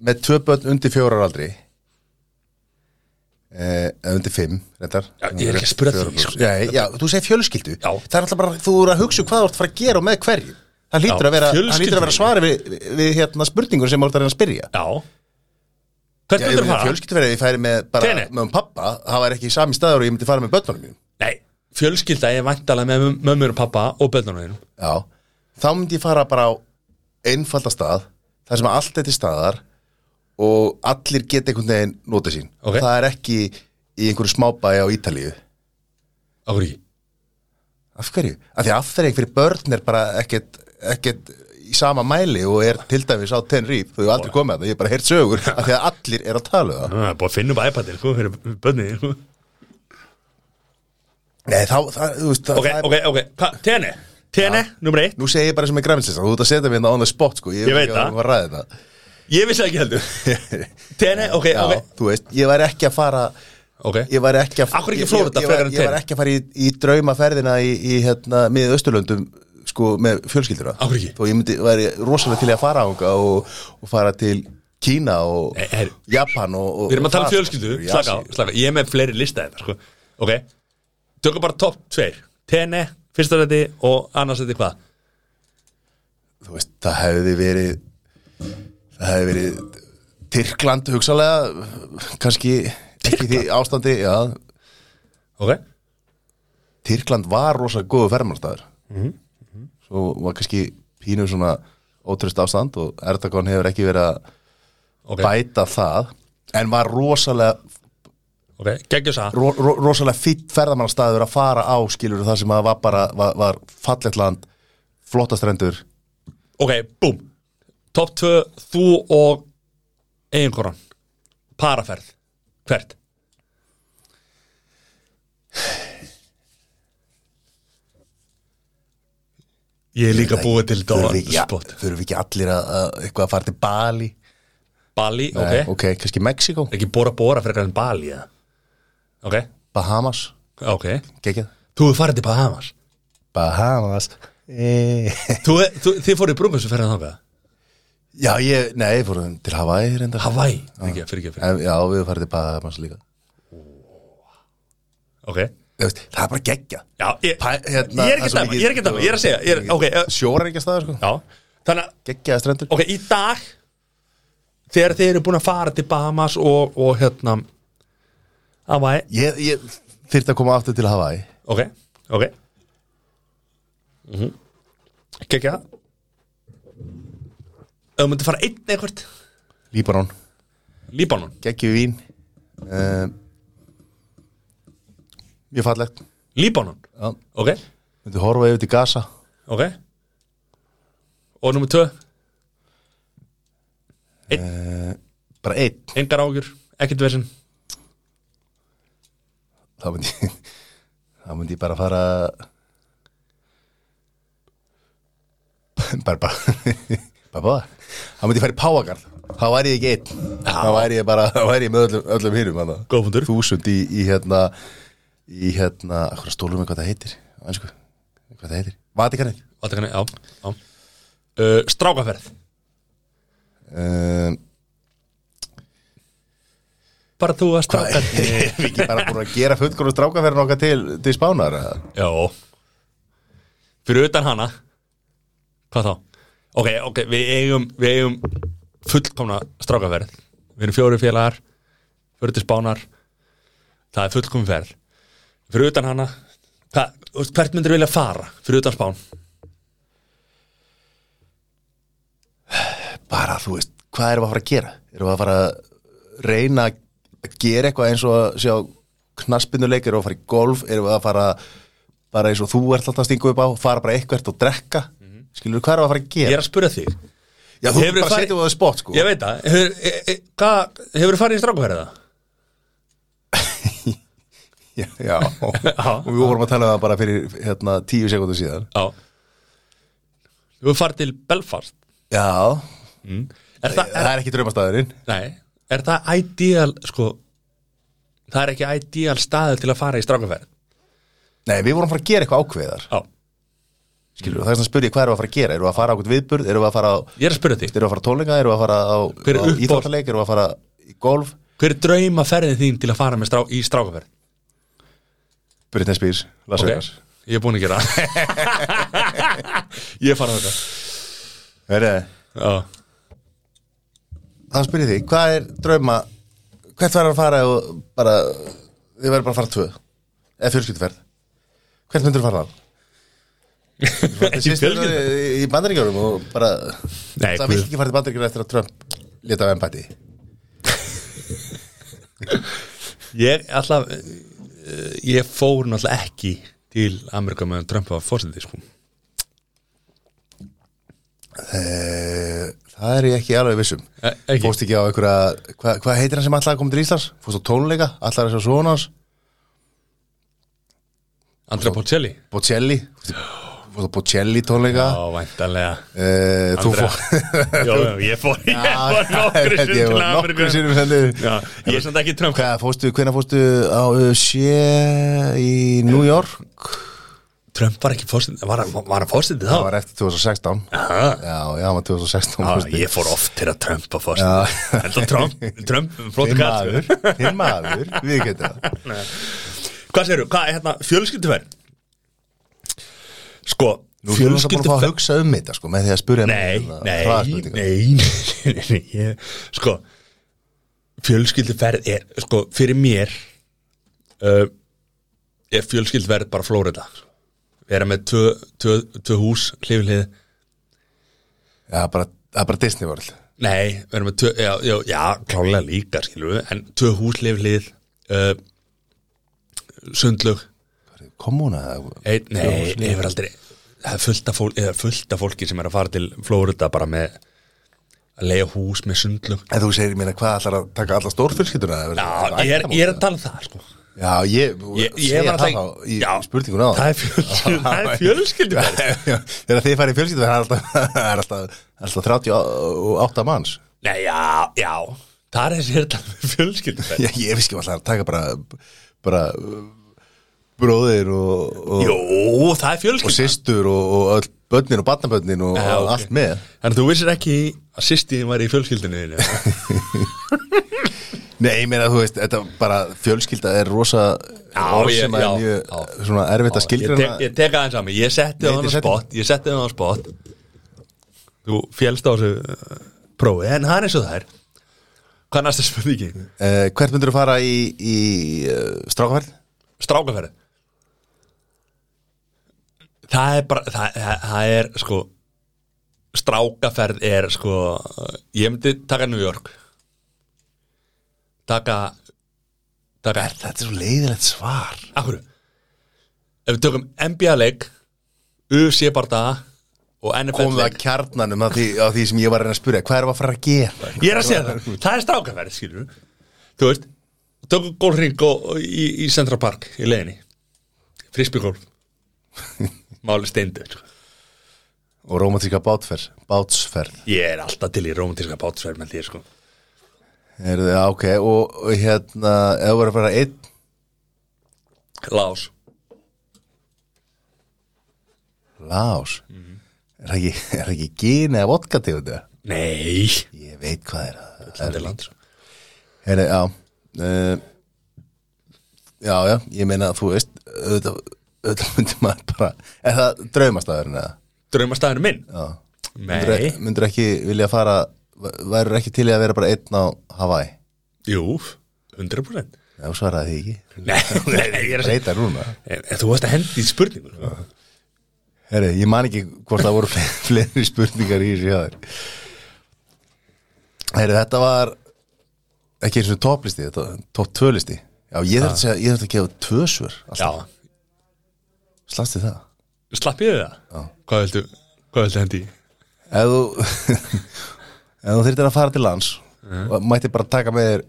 með tvö börn undir fjórar aldri eh, eða undir fimm reyndar Já, ég er ekki að spyrja Fjórar því, sko. plús. Nei, já, þú segir fjölskyldu Já. Það er alltaf bara, þú eru að hugsa um hvað þú ert að fara að gera og með hverju Það Já, hlýtur að vera, það fjölskyldu. hlýtur að vera svari við, við, við hérna spurningur sem þú ert að reyna að spyrja Já Hvert myndir fara? fjölskylduverið ég færi með bara Tenni. með um pappa, það væri ekki í sami staður og ég myndi fara með börnunum mínum Nei, fjölskylda er vantalega með mömmur og pappa og bönnunum þínum. já, þá myndi ég fara bara á einfalda stað, þar sem allt er til staðar og allir geta einhvern veginn notið sín Ok. það er ekki í einhverju smábæja á Ítalíu Akkur ekki af hverju? af því að afþreying fyrir börn er bara ekkert, ekkert í sama mæli og er til dæmis á Tenrýf þú hefur aldrei komið að það, ég hef bara heyrt sögur af því að allir er að tala um það Það er Ah, búið að finna upp iPadin, sko, fyrir bönnið sko. Nei, þá, það, þú veist, það, Ok, það er ok, ok, hvað, tene Tene, nummer eitt Nú segi ég bara sem er græminslistan, þú ert að setja mér þetta on the spot sko, ég, Ég veit ekki að það. við varum að ræða þetta Ég vissi það ekki heldur Tene, ok, Já, ok þú veist, ég væri ekki að fara ok ég var ekki að Akkur ekki ég, Flórída ég, var, frekar en ég var Tenerife? ekki að fara í, í draumaferðina í, í hérna, miðið Östurlöndum sko, með fjölskyldura Af hverju ekki? og ég myndi, væri rosalega til í að fara ánga og, og fara til Kína og Eh, herri. Japan og, og Við erum að tala um það, fjölskyldu, skilurðu, já, slaka á, sí. slaka á Ég er með fleiri lista þetta, sko Ok, tökum bara topp tveir Tene, fyrsta reti og annars reti hvað þú veist, það hefði verið það hefði verið Tyrkland hugsalega kannski ekki í því ástandi já, Ok, Tyrkland var rosa góðu fermarstaður svo var kannski pínu svona ótröst ástand og Erdogan hefur ekki verið að ok, bæta það en var rosalega ok, geggjus að ro, ro, rosalega fýtt ferðamannastæður að fara á skilur það sem að var bara var, var fallegt land, flottastrendur Ok, búm Topp tvö, þú og eiginkonan Paraferð, hvert? Ég er líka búið til þurfum við, Dóra ja, spott þurfum við ekki allir að, að eitthvað að fara til Bali Bali, ok, Nei, ok, kannski Mexiko, ekki Bora Bora frekar en Bali eða? Ok, Bahamas ok gekkjað, Þú hefur farið til Bahamas Bahamas e þú, þú, Þið fóruð í brúngansumferðin þangað já ég, nei, fórum til Hawaii reyndar Hawaii, fyrir ekki, fyrir ekki, fyrir En, já, við höfum farið til Bahamas líka Ok, Þú veist, það er bara geggja já, ég, Pa- hérna, ég er ekki það er svo að dæma, mikið- ég er ekki að dæma, ég er að segja ég er, Ok, eh, sjóra er ekki að staða sko. já, þannig að, geggjaði strendur ok, í dag Þegar þið eru búin að fara til Bahamas og, og hérna Hawaii, ég, ég þyrfti að koma aftur til Hawaii ok, ok mm -hmm. Kekja Ef þú myndir fara einn eitthvað Líbanon, Líbanon, geggjum vín uh, mjög fallegt Líbanon, já. ok myndi horfa yfir til Gaza Ok Og nummer tvö Eh, bara einn, Engar ágjur, ekkert versin þá myndi ég- þá myndi ég bara fara bara bara bara báða þá myndi ég fara í Páagarð þá væri ég ekki einn þá væri ég bara, þá væri ég með öllum, öllum hinum þarna. Góð fundur. þúsund í, í hérna í hérna, hvað stólum við hvað það heitir Á ensku, hvað það heitir Vatikanið Vatikanni, já, já. Uh, Strákaferð um, Bara þú að strákaferð Erum við ekki bara búin að gera fullkóru strákaferðin okkar til, til spánar eða? Já Fyrir utan hana Hvað þá? Ok, ok, við eigum, við eigum fullkomna strákaferð Við erum fjóri félagar Fyrir til spánar Það er fullkomin ferð Fyrir utan hana hva, þú veist, Hvert myndir vilja fara? Fyrir utan spán bara þú veist, hvað erum við að fara að gera erum við að fara að reyna að gera eitthvað eins og að sjá knaspinnuleik, erum við að fara í golf erum við að fara bara eins og þú ert alltaf að stinga upp á, fara bara eitthvað og drekka mm skilur hvað erum við að fara að Mhm. Ég gera er að spura þig já, þú Hefurðu bara farið- setjum við það spott sko Ég veit það, hefur, e, e, hvað, hefur farið í strákaferð það? já, já. og við vorum að tala um það bara fyrir hérna, tíu sekundu síðan Já Þú hefur farið til Belfast já, Er það, er, það er ekki draumastæðurinn nei, er það ideal sko, það er ekki ideal staður til að fara í strákaferð nei, við vorum að fara að gera eitthvað ákveðar Já, skilur, það er svona að spurja hvað erum við að fara að gera erum við að fara á okkur viðburð, erum við að fara á ég er að spyrja þig erum við að fara á tólinga, erum við að fara á, Hver er á uppáhalds- íþróttaleik, erum við að fara í golf Hver er drauma ferðin þín til að fara með strá, í strákaferð? Britney Spears, Las Ok, Vegas Ég er búin að gera það Ég er farin að Verði, þetta Já, Þá spyrir ég því, hvað er drauma Hvert verður að fara og bara Þið verður bara að fara tvö Eða fjölskylduferð Hvert myndur þú fara á? ekki fjölskylda Í, í bandaríkjórum og bara Nei, Það guð. vil ekki fara til bandaríkjórum eftir að Trump Leta af embætti Ég alltaf eh, Ég fór náttúrulega ekki til Amerika meðan Trump var fórsetið sko. Eh, Það er ég ekki alveg vissum Eh, ekki. Fóst ekki á einhverja Hvað hva heitir hann sem allar að koma til Íslands? Fóst á tónleika, allar að sjá svona hans Andra Bocelli Bocelli fórst á Bocelli tónleika Já, væntanlega Eh, Ah. Þú fór Andrea. Jó, ég fór, ég Ég held fór nokkru sinni ég til var nokkru Ameríku sinnum sendur Já, ég er samt ekki Trump Hvað fórstu, hvenær fórstu á uh, sjö í New York? Trump var ekki fórstundið, var, hann- var hann fórstundið Það þá? var eftir 2016 Aha. Já, já, hann var 2016 Já, fórstu. Ah, ég fór oft til að Trump var fórstundið Enda Trump, Trump, flott Þinn kall maður, þinn maður, við getum það Hvað segirðu, hvað er hérna, fjölskylduferð? Sko, Nú erum við bara að fá að hugsa um þetta sko með því að spyrja Nei, mig, hérna, nei, nei, hraðaspurningar. nei, nei, nei ég, Sko Fjölskylduferð er Sko, fyrir mér uh, Er fjölskylduferð bara Flórida Vera með tvö, tvö, tvö hús Hliflið Já, bara, það er bara Disney World Nei, vera með tvö Já, já, já klálega líka skilur við En tvö hús hliflið uh, Sundlög Kommuna Ein, Nei, yfir aldrei Það er fullt af, fólk, fullt af fólki sem er að fara til Flórida bara með að leiða hús með sundlög En þú segir mér að hvað ætlar að taka alla stórfjölskylduna eða verður Já, þetta ég er, ættamót? ég er að tala um það sko. Já, ég, Ég- ég segja var það að tala- þá í Já. spurningun á Það er fjölskyldu Það er fjölskyldu Þegar þið farið fjölskyldu það er alltaf, það er alltaf, það er alltaf 38 manns Nei, já, já Það er þessi hérna fjölskyldu Já, ég vissi ekki alltaf að taka bara, bara uh, bróðir og, og, Jó, það er og fjölskyldu systur og, og öll börnin og barnabörnin og, Já, og ok. allt með Þannig að þú vissir ekki að sýstiðin var í fjölskyldinu þínu. Nei, ég meina þú veist, þetta bara fjölskylda er rosa Já, orð ég- sem er já, mjög já. svona erfitt að Ég skilgrana tek- ég tek aðeins að mig Ég Nei, setti það á þetta er spott Ég setti það á spott Þú félst á þessu uh, prófi En það er eins og það er Hvað er næsta spurningi? uh, Hvert myndir þú fara í, í uh, strákaferð? strákaferð það er bara það, það, það er sko strákaferð er sko ég myndi taka New York taka taka er Þetta er svo leiðilegt svar akkur ef við tökum NBA leik UFC barða og NFL Komum við að leik kjarnanum af því, af því sem ég var að reyna að spyrja Hvað erum við að fara að gera? ég er að segja það, það er strákaferð skilur þú veist, tökum gólring og, og, í, í Central Park í leiðinni frisbygólf máli steindu sko Og romantíska bátferð, bátsferð Ég er alltaf til í romantíska bátsverð með því sko Er þið, ah, ok, og, og hérna Ef þú verður að fara einn Lás lás Mhm. Er það ekki, er það ekki gín eða vodka til þetta? Nei Ég veit hvað er það Landi lands Heri, já uh, Já, já, ég meina þú veist auðvitað, auðvitað myndir maður bara Er það draumastæðurinn eða? Draumastæðinu minn Já Nei Myndir ekki vilja fara Værur ekki til í að vera bara einn á Hawaii? Jú 100% Já, svaraði því ekki Nei, nei, nei, ég er að segja Breyta núna En en þú varst að hendi í spurningu sko. Heri, ég man ekki hvort það voru fle- fleiri spurningar í þessu hjá þér Heri, þetta var ekki eins og topplisti, þetta var topp tvölisti Já, ég þurfti að, segja- ég þurfti að gefa tvö svör Já Slastið það Slappið þið það? Já Hvað viltu, hvað viltu hendi í? ef þú ef þú þyrtir að fara til lands og mætti bara taka með þér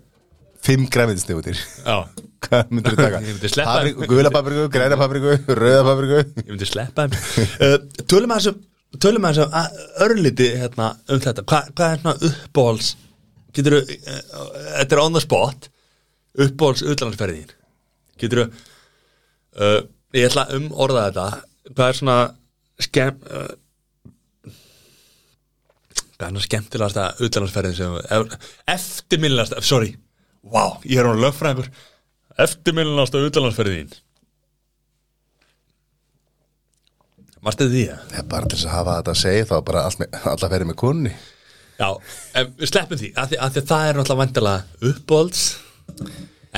fimm græmiðsnefutir Já hvað myndir þú taka? Ég myndi sleppa þeim. Papriku, gula papriku, græna papriku, rauða papriku Ég myndi sleppa þeim uh, Tölum að þessum Tölum að þessum a- örliti hérna um þetta Hva, Hvað er svona uppbóls Getur þú Þetta er on the spot Uppbóls utlandsferðin Getur þú uh, Ég ætla að umorða þetta Hvað er svona skem uh, Hvað er svona skemmtilegasta utlandsferðin sem ef- Eftirminnilegasta Sorry Vá, ég er hún lögfræðingur Eftirminnilegasta utlandsferðin Varstu því að Ég er bara til þess að hafa þetta að segja þá bara allt með, alla ferið með kunni Já, en við sleppum því að því, að því að það er náttúrulega vandilega uppbólds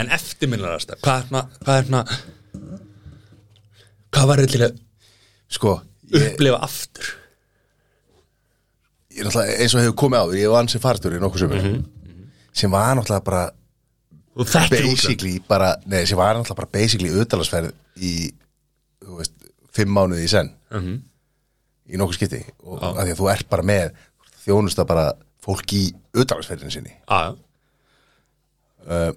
en eftirminnarast hvað er hérna hvað er hérna hvað var þetta til að sko, ég, upplifa aftur ég er náttúrulega eins og hefur komið áður ég var ansið farstjóri í nokkuð sömur Mhm. sem var náttúrulega bara og þetta er útlönd basically bara, nei, sem var náttúrulega bara basically auðdalagsferð í, þú veist, fimm mánuði í senn Mhm. í nokkuð skipti og að því að þú ert bara með þjónusta bara fólk í auðdalagsferðinu sinni Ah, Já, já.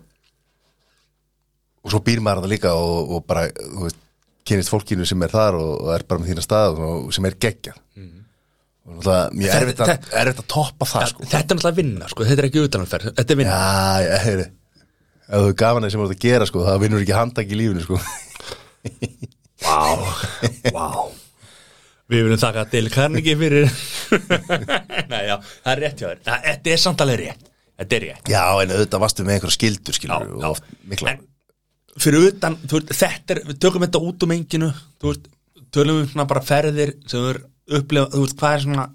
og svo býr maður það líka og, og bara, þú veist, kynist fólkinu sem er þar og, og er bara með þína stað og sem er geggja og náttúrulega mjög Mhm. Þetta- erfitt, að- þetta- erfitt að toppa það sko Þetta er náttúrulega vinna, sko, þetta er ekki utanumferð Þetta er vinna Já, já, heyri Ef þú er gaman að sem voru að gera sko, það vinnur ekki handtak í lífinu sko Vá, vá Við viljum þakka Dale Carnegie fyrir Nei, já, það er rétt hjá þér Það- Þetta er samt alveg rétt Þetta er rétt Já, en auðvitað varstu með einhverja skildur skilur Já, og já. oft mikla En Fyrir utan, þú veist, þetta er Við tökum þetta út um enginu Þú veist, tölum við svona bara ferðir sem við upplifa, þú veist, hvað er svona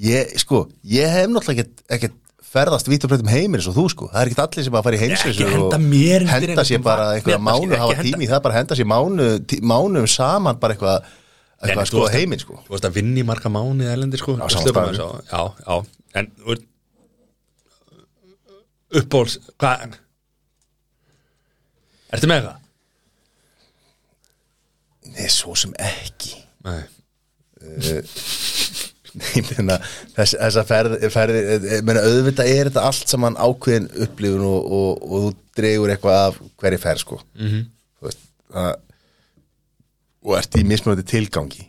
Ég, sko, ég hef náttúrulega ekkert, ekkert ferðast vítt og breytum heimir eins og þú sko Það er ekkert allir sem að fara í heimsins Ekki henda mér undir Henda einhvern sér bara vagn, einhverja bara mánu, ekki hafa henda- tími í það bara henda sér mánu, tí, mánum saman bara eitthvað, Nei, eitthvað nei, sko þú varst að- heiminn sko Þú veist að vinna í marga mánuði erlendi sko Já, sama staður. Já, já, en þú veist, Uppbóls, hvað Ertu með það? Nei, svo sem ekki Nei Ég meina, þess, þessa ferð, ferði, ég meina, auðvitað er þetta allt saman ákveðin upplifun og, og, og þú dregur eitthvað af hverju ferð sko -hmm. þú veist að, og ert í mismunandi tilgangi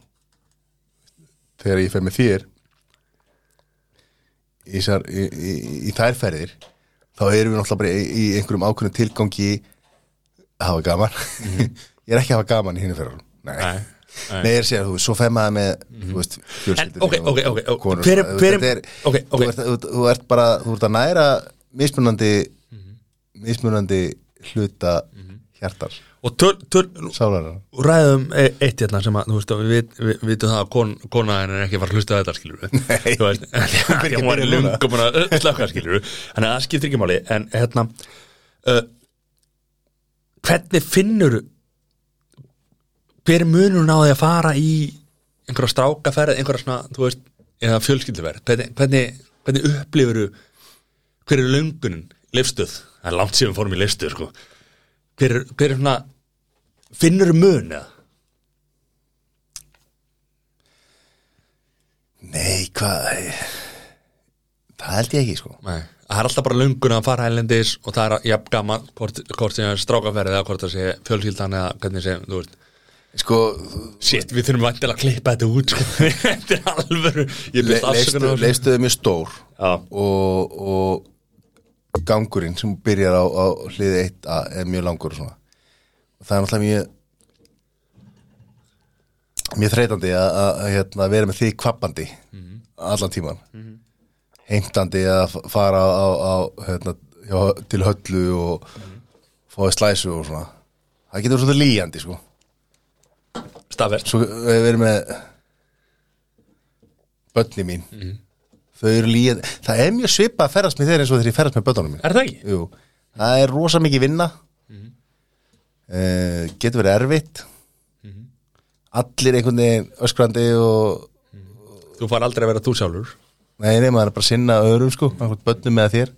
þegar ég fer með þér í, sar, í, í, í þær ferðir þá erum við náttúrulega bara í, í einhverjum ákveðinu tilgangi að hafa gaman ég er ekki að hafa gaman í hinu ferðar nei, Nei, nei. Mhm. Nei, ég er að segja, þú veist, svo fer maður með, þú veist, En, fjölskyldinni ok, og ok, ok, ok. konur og Hver er- svona. hver er- Þetta er- ok, ok. Þú ert, þú, ert- þú ert bara, þú ert að næra mismunandi, Mhm. mismunandi hluta hjartar, Og töl, töl, og sálarar. ræðum e- eitt hérna sem að, þú veist, við við- við vitum það að kon, kona henni er ekki að fara að hlusta á þetta, skilur við Nei. Þú veist, byrja því að hún er núna. lunga búin að slöka, skilur við Þannig að það skiptir ekki máli, en hérna uh, Hvernig finnur Hver er munurinn á því að fara í einhverja strákaferð, einhverja svona, þú veist eða fjölskylduverð, hvernig, hvernig, hvernig upplifur hver er löngunin, leifstöð það er langt sem við fórum í leifstöð, sko hver, er- hver er svona finnur mun eða Nei, hvað, það held ég ekki, sko. Nei. það er alltaf bara löngun að fara hælendis og það er jafn gaman hvort, hvort sem er strákaferð eða hvort það sé fjölskyldan eða hvernig sem, þú veist Sko, Sitt, við þurfum vantilega að klippa þetta út sko. þetta er alvöru ég byrst afsökunar á leistu, þessu. leistuðu mjög stór Já. og, og gangurinn sem byrjar á, á hliði 1 er mjög langur og svona. Og það er náttúrulega mjög mjög þreytandi að, að, að hérna, vera með því kvappandi allan tíman heimtandi að f- fara á, á hérna, hjá, til höllu og mm -hmm. fáið slæsu og svona það getur svona líjandi sko Staðfest. svo við erum með börni mín þau eru líð það er mjög svipað að ferðast með þeir eins og þegar ég ferðast með börnunum mín er það ekki? Jú, það er rosa mikið vinna mm getur verið erfitt Mhm. allir einhvern veginn öskrandi og þú far aldrei að vera þú sjálfur nei, nei, maður er bara að sinna öðrum sko, einhvern börnum með þér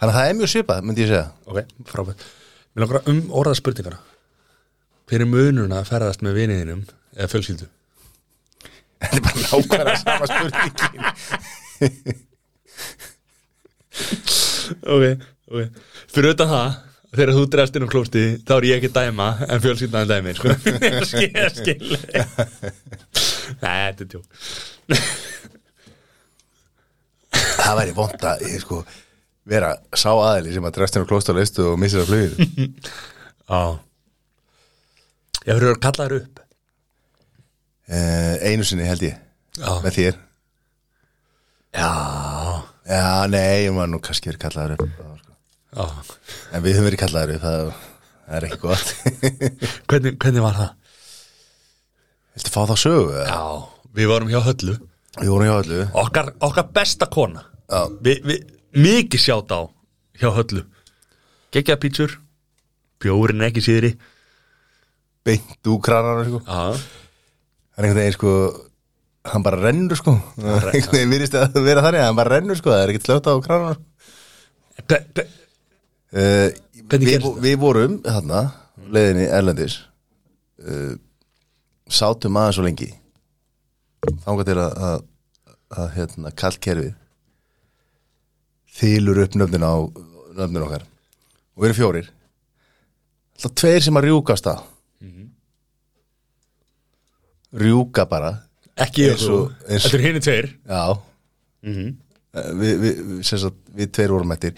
þannig að það er mjög svipað, myndi ég segja ok, frábæð mér langar að um orða spurningana hver er munurinn að ferðast með viniðinum eða fjölskyldu þetta er bara nákvæmlega sama spurningin ok, ok fyrir auðvitað það, þegar þú drefst inn á klósti þá er ég ekki að dæma, en fjölskyldan er dæmi sko. skil, skil nei, þetta er tjók það væri vond að ég, sko, vera sá aðili sem að drefstinu klósta og leistu og missir að flugið á ég fyrir að kalla þér upp uh, einu sinni held ég já, með þér já, já, nei, ég maður nú kannski verið kallaður upp það var sko. já. en við höfum verið kallaður upp það, það er ekki gott Hvernig, hvernig var það? Viltu fá þá sögu? eða? já, við vorum hjá höllu Við vorum hjá öllu okkar, okkar besta kona Já. við, við, mikið sjátt á hjá höllu geggja pítsur bjórin ekki síðri beint úr krananum sko. já, hann einhvern veginn sko hann bara rennur sko einhvern veginn virðist að vera þannig að hann bara rennur sko það er ekkert slögt á krananum sko. hver, hver, Eh, Hvernig við, gerist það? við vorum þarna, leiðinni Erlendis uh, sátum aðeins svo lengi þangað til að, að, að hérna, kallkerfið þýlur upp nöfnin á nöfnin okkar Mhm. og við erum fjórir alltaf tveir sem að rjúkast að rjúka bara Ekki ég Eins þú, og- eins- þetta er hinu tveir já Eh, við, við, sem sagt, við tveir vorum eftir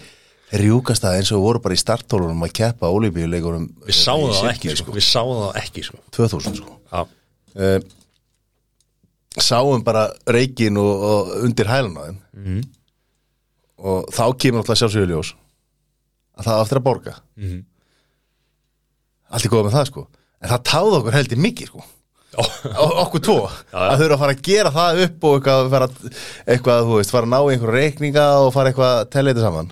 rjúkast það eins og við vorum bara í startólunum að keppa olífíuleikunum Við sáum það ekki, sko. við sáum það ekki sko. 2000 sko Já, uh, sáum bara reikin og, og undir hælun á þeim -hmm. Mhm. og þá kemur alltaf sjálfsöguljós að það á eftir að borga mm Mhm. -hmm. allt í góða með það sko en það táði okkur heldur mikið sko Ó, O- okkur tvo, að þau eru að fara að gera það upp og eitthvað, fara, að- eitthvað þú veist, fara að ná einhverju reikninga og fara eitthvað að tella þetta saman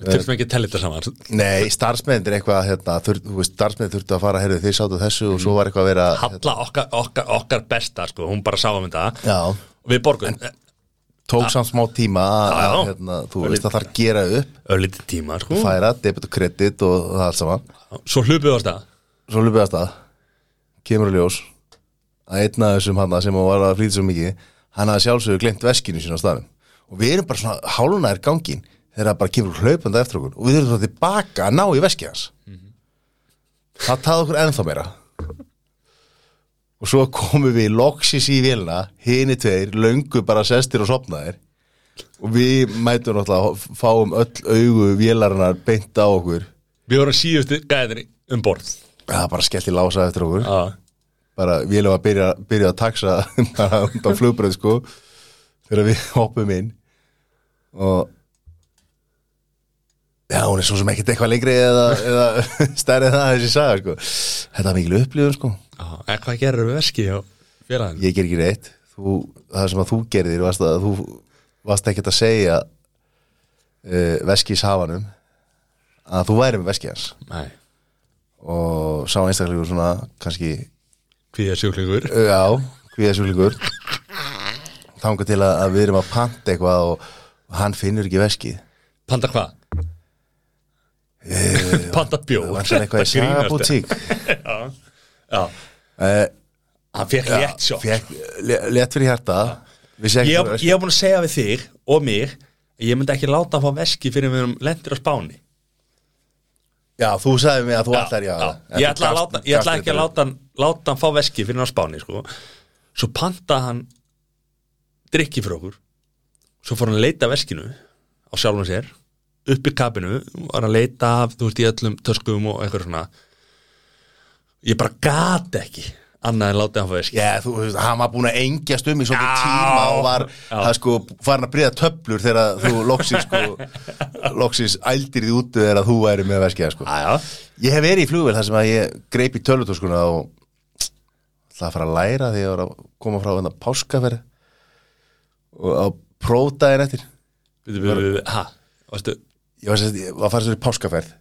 við þurfum ekki að tella þetta saman nei, starfsmennir eitthvað hérna, þur, þú veist, starfsmennir þurftu að fara heyrðu, þið sátu þessu og svo var eitthvað að vera Halla okkar, okkar, okkar besta sko. Hún bara sáum þetta já, Og við borgum tók samt smá tíma að, Já, já. að hérna, þú veist að það þarf að gera upp Öllítið tíma sko. færa, debit og kredit og það allt saman Svo hlupið á stað svo lupið að stað kemur í ljós að einn af þessum hann sem var að flýta svo mikið hann hafði sjálfsögur glemt veskinu sína á staðum og við erum bara svona hálunæðir gangin þegar það bara kemur hlaupandi á eftir okkur og við erum það tilbaka að ná í veskið hans það taði okkur ennþá meira og svo komum við loksis í vélina hini tveir, löngu bara sestir og sopnaðir og við mætum náttúrulega fáum öll augu vélarinnar beint á okkur Við vorum síðustu gæðinni um borð það bara skellt í lása eftir okkur Já, bara við erum að byrja, byrja að taxa bara undan flugbröð sko þegar við hoppum inn og já, hún er svo sem ekkert eitthvað lengri eða, eða stærri en það þessi saga sko þetta er mikil upplifun sko já. En hvað gerir við veski hjá félagin? ég ger ekki reitt þú, það sem að þú gerðir varst að þú varst ekkert að segja uh, veskis hafanum að þú væri með veskið hans Nei, og sá einstaklega svona kannski hví er sjúklingur Já, kvíðasjúklingur Þanga til að, að við erum að panta eitthvað og, og hann finnur ekki veskið Panta hvað? Panta bjór Það vantar eitthvað í Þetta grínast, sagabútík Já, uh, hann fekk létt sjokk Fékk létt fyrir hjarta Vissi ekki Ég hver hef veski- ég hef búin að segja við þig og mig að Ég myndi ekki láta að fá veski fyrir við erum lendir á Spáni Já, þú sagði mig að þú ætlar já, Ég ætla, að láta, ég ætla ekki að láta hann, láta hann fá veski fyrir hann á Spáni sko. Svo panta hann drikki fyrir okkur Svo fór hann að leita að veskinu á sjálfum sér upp í kapinu var að leita af, þú veist, í öllum töskum og eitthvað svona Ég bara gat ekki annað en láta hann fá veski Já, þú veist, hann var búin að engjast um í svona Já. tíma og var, Já. það sko, farin að breiða töflur þegar þú loksins sko, loksins ældir því út þegar þú væri með veskiða sko Aja. Ég hef verið í flugvél þar sem að ég greip í tölvutöskuna og það að fara að læra því að ég var að koma frá hérna páskaferi og að próta þér eftir Við, við, við, ha, varstu ég var, sérst, ég var að fara sér í páskaferð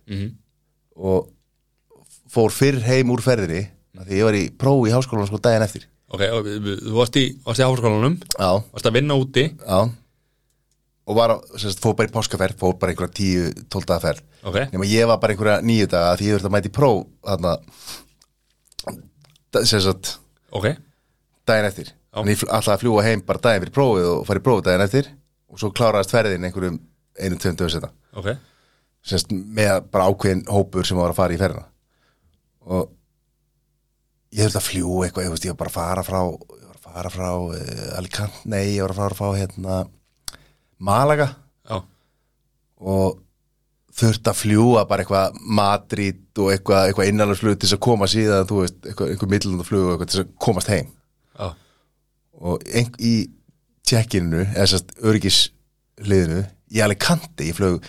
og fór fyrr heim úr ferðinni af því ég var í prófi í háskólanum sko daginn eftir Ok, og við- við- þú varst í, varst í háskólanum Já, varst að vinna úti já og var að, sérst, fór bara í páskaferð fór bara einhverja tíu, tóltaða ferð Ok, nema ég var bara einhverja nýju daga af því ég verið að mæti próf þarna sem sagt ok daginn eftir Þannig ég fl- ætlaði að fljúa heim bara daginn fyrir prófið og fara í prófið daginn eftir og svo kláraðist ferðin einhverjum einum tveim dögum setna Ok, Sérst, með bara ákveðin hópur sem var að fara í ferðina og ég þurfti að fljúa eitthvað ég, veist, ég var bara að fara frá ég var að fara frá uh, Alicante, nei ég var að fara frá hérna, Malaga já og þurfti að fljúa bara eitthvað Madrid og eitthvað, eitthvað innanlagsflug til þess að koma síðan, þú veist, eitthvað, eitthvað millundaflug og eitthvað til þess að komast heim Já, og ein, í tjekkinu eða sérst örgisliðinu í Alicante, ég flög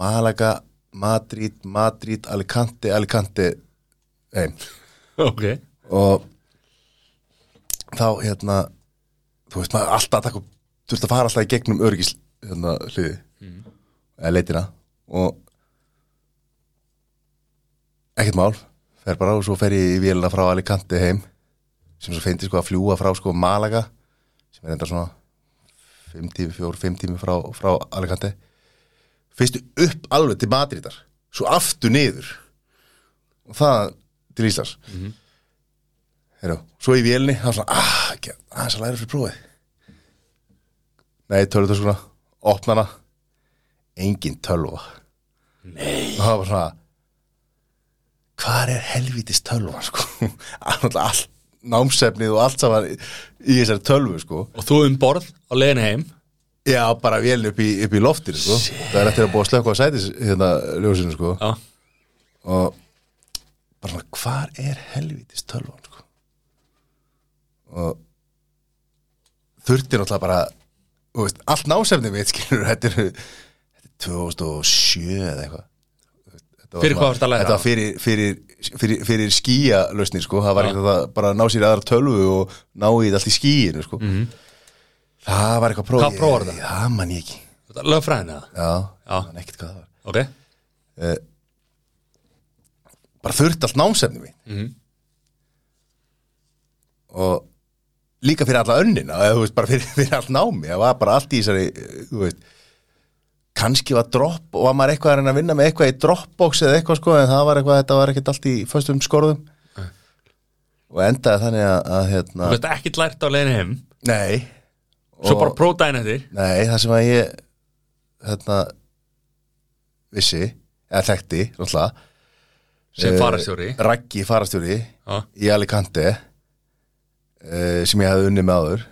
Malaga, Madrid, Madrid Alicante, Alicante heim ok og þá hérna þú veist maður alltaf að taka þú veist að fara alltaf í gegnum örgis hérna hliði eða leitina og ekkert mál fer bara og svo fer ég í vélina frá Alicante heim sem svo feindi sko að fljúa frá sko Malaga sem er enda svona 5 tími, 4, 5 tími frá, frá Alicante fyrstu upp alveg til Madridar svo aftur niður og það til Íslands Heru, svo í vélni, það var svona ah, ekki, aðeins að læra fyrir prófið Nei, tölvutöskuna opna hana engin tölva Nei og það var svona hvar er helvítis tölva sko Allt- allt, námsefnið og allt saman í í þessari tölvu sko Og þú um borð á leiðinu heim Já, bara vélin upp í, upp í loftir sko. það er eftir að búa að slökka á sætis hérna ljósinu sko Já, og bara svona, hvar er helvitis tölvan sko? og þurfti náttúrulega bara þú veist, allt násefni mitt skilur þetta er, þetta er 2007 eða eitthvað Þetta var Fyrir svona- hvað varstu að læra? Þetta var fyrir, fyrir, fyrir, fyrir skíalausnir sko, það var ekkert að það bara ná sér í aðra tölvu og ná í þetta allt í skíinu sko. það var eitthvað próf Hvað Mhm. próf var þetta? það man ég ekki, þetta er lögfræðin eða já, Já. man ekkert hvað það var Ok, bara þurfti allt námsefni mín Mhm. og líka fyrir alla önnina eða, þú veist, bara fyrir, fyrir allt námi það var bara allt í þessari eh, þú veist, kannski var drop og var maður eitthvað að reyna að vinna með eitthvað í dropbox eða eitthvað sko en það var eitthvað, þetta var ekkert allt í föstum skorðum og endaði þannig að, að hérna, Eh. þú veist ekki lært á leiðinu heim nei Svo bara prótaðin eftir Nei, það sem að ég hérna vissi, eða þekkti náttúrulega, sem Eh, farastjóri Raggi farastjóri Já. í Alicante uh, sem ég hafði unnið með áður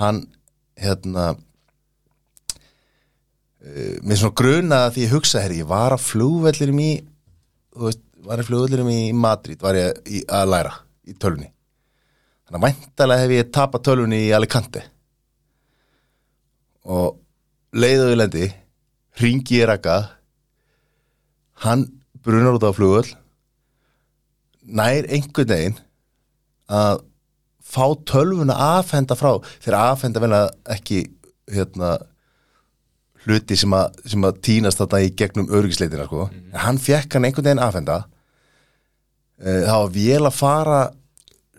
hann hérna uh, mér svona gruna því ég hugsa herri, ég var að flugvellirum í þú veist, var að flugvellirum í Madrid var ég í, að læra í tölunni þannig að væntalega hef ég tapað tölunni í Alicante og leiðu í lendi ringi ég rakka hann brunar út á flugvöll nær einhvern veginn að fá tölvuna afhenda frá þegar afhenda vel að ekki hérna hluti sem að, sem að týnast þarna í gegnum örgisleitina sko en hann fekk hann einhvern veginn afhenda Eh, það var vél að fara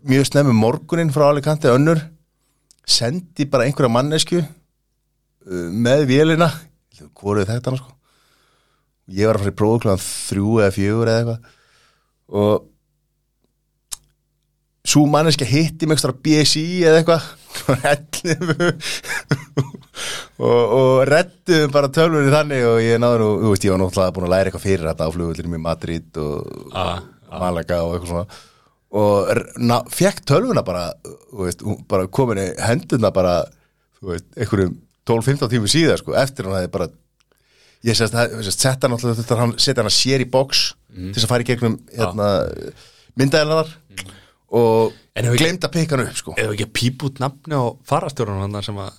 mjög snemmi morgunin frá Alicante önnur sendi bara einhverja mannesku eh, með vélina hvorið þetta hann sko ég var að fara í prófu klokkan þrjú eða fjögur eða eitthvað og svo manneskja hitti mig ekstra BSI eða eitthvað og, og rettum bara tölvunni þannig og ég náður og þú veist ég var náttúrulega búin að læra eitthvað fyrir þetta á flugullinum í Madrid og Ah, Malaga og eitthvað svona og r- na, fekk tölvuna bara, þú veist, hún bara komin í hendurna bara þú veist, einhverjum 12-15 tími síðar sko, eftir hann hafði bara ég sést, það- sést setta hann alltaf þetta hann setja hann sér í box Mhm. til þess að fara í gegnum hérna, myndaðilegar og En hefur- gleymd að pikka hann upp sko. Eða ekki að pípa út nafni á farastjórunum hann sem að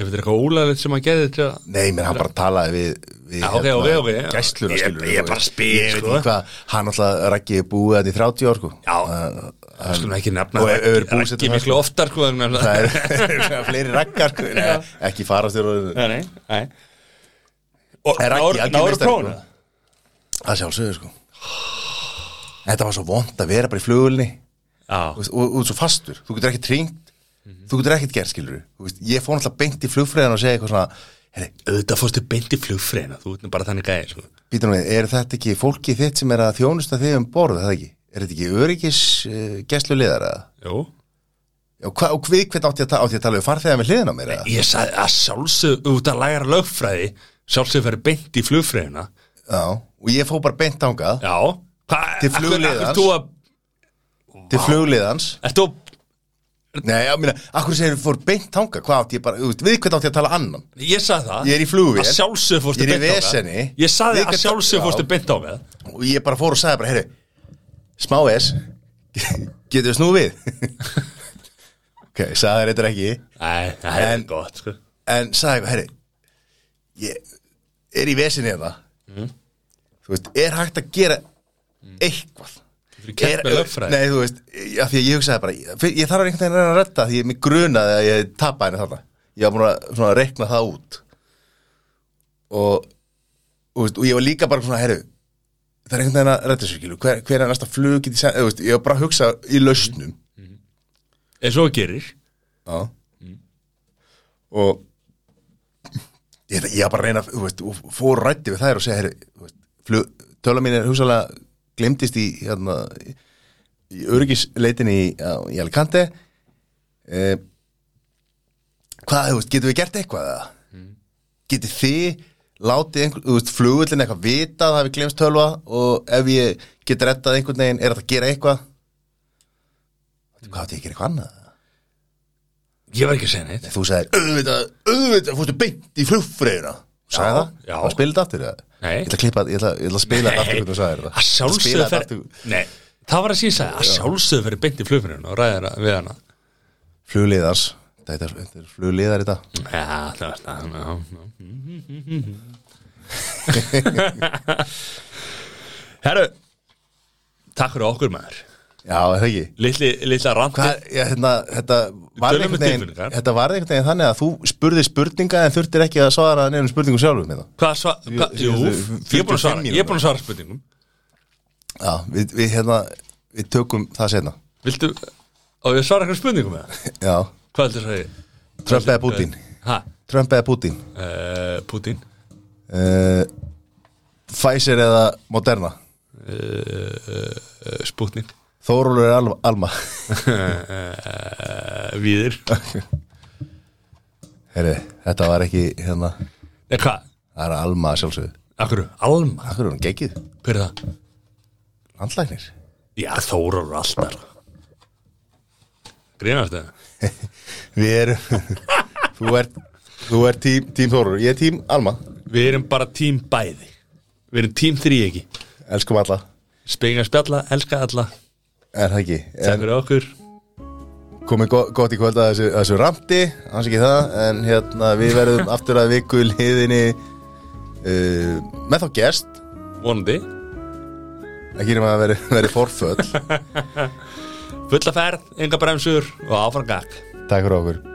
ef þetta er eitthvað ólega sem að gerði til að Nei, menn hann bara talaði við, við hérna, Já, ok, ok, ok, já. gæstluna Ég- skilur ég bara spyr, Ég veit sko. ekki hvað, hann alltaf rækki búið hann í 30 ár sko. Já, það skulum ekki nefna og ef- ef er Raggi- búsett Raggi þar, miklu oftar sko en- það er fleiri rakkar sko. Nei, ekki farast þér og Nei, nei, nei Og Er Raggi náður algjör náður meistari, prófuna sko? að sjálfsögur sko. Þetta var svo vond að vera bara í flugulni Já, og, og, og svo fastur, þú getur ekkert hringt þú getur ekkert gerð skilur veist, ég fór alltaf beint í flugfræðan og segja eitthvað svona herri, auðvitað fórstu beint í flugfreina þú veitum bara þannig gæði sko. býtum við, er þetta ekki fólki þitt sem er að þjónusta þig um borð, er það ekki? Er þetta ekki öryggis uh, gæslu liðar eða? Jú Já, hva, og við hvern átti ég að, ta átti ég að tala við farþegar með hliðina á mér eða? Ég sagði að sjálfsög út að læra lögfræði sjálfsög fyrir beint í flugfreina Já, og ég fór bara beint ángað Já Hva, Til akkur- flugliðans. akkur þú að- til flugliðans ert þú að- Nei, ég meina, akkur segir fór beint ángað, hvað átti ég bara, þú veist, við hvern átti ég að tala annan? Ég sagði það Ég er í flugvél. Að sjálfsög fórstu Ég er í beint á veseni. Ég sagði Við að gætum- sjálfsög Já. fórstu beint á með og ég bara fór og sagði bara, heyrðu, smá S getur við snúið við ok, sagði þetta ekki Nei, það er En- gott sko. en sagði eitthvað, heyrðu ég er í vesinni eða þú veist, er hægt að gera eitthvað Þú kemst með lögfræði nei, þú veist, af því að ég hugsaði bara ég, ég þarf einhvern veginn að reyna að retta því ég mig grunaði að ég tapa henni þarna ég var búin að svona, rekna það út og og, veist, og ég var líka bara svona, herru það er einhvern veginn að retta sér, skilu hver, hver er næsta flug, get ég sent- eða, þú veist, ég var bara að hugsa í lausnum En svo gerir Já Og ég, ég var bara að reyna þú veist, og fór og rætti við þær og segja heyr, veist, flug, töla mín er hugsalega glimtist í, hérna, í- í örgisleitin í, á- í Alicante eh, Hvað, þú veist, getum við gert eitthvað eða? Getið þið látið einhver, þú veist, flugullin eitthvað vita að það hafi glemst tölva og ef ég get rettað einhvern veginn, er þetta að gera eitthvað Veitu hvað átti ég að gera eitthvað annað? Ég var ekki að segja neitt Þú sagðir, auðvitað, auðvitað, fórstu beint í flugfröðina Sagði það? já. Það spilaði aftur það? Nei. Ég ætla að klippa, ég ætla, ég ætla að spila þetta aftur hvernig þú sagðir Að það sjálfsögðu Spila þetta fer aftur- Nei, það var að síðan sagði Að sjálfsögðu fer beint í flugfinnun og ræðir við hana Flugliðars, þetta er- þetta er flugliðar í dag Já, það var það já, já. Herru Takk fyrir okkur maður Já, er það ekki Litli, litla randi Hvað, já, hérna, þetta varði Tölum um einhvern veginn tilfinningar. Þetta varði einhvern veginn þannig að þú spurði spurninga en þurftir ekki að svara nefnum spurningum sjálfum hérna. með það Hvað sva, hva, Ég- Jú, ég- ég er búin að svara Ég er búin að svara spurningum Já, við, við, hérna, við tökum það setna Viltu Og ég svara eitthvað spurningum með það Já, Hvað heldur það ég? Trump eða Putin Hæ? Eh, Trump eða Putin Uh, Putin uh, Pfizer eða Moderna uh, Eh, Sputnik Þórólur eða Alma, Alma. uh, Víðir Heri, Þetta var ekki hérna Nei, Eh, hvað? Það er Alma að sjálfsögðu Akkur, Alma, Akkur er hún geggið hver er það? Landlæknir Já, Þórar alltaf Grínast það? Við erum Þú ert Þú ert tím, tím Þórólur Ég er tím Alma Við erum bara tím bæði Við erum tím þrý ekki Elskum alla Spengar spjalla, elska alla Er það ekki En- Takk fyrir okkur komið go- gott í kvöld að þessu, að þessu ramti hans ekki það, en hérna við verðum aftur að viku liðinni uh, með þá gest Vonandi ekki nema að veri, veri forföll Fulla ferð, enga bremsur og áfram gakk takk fyrir okkur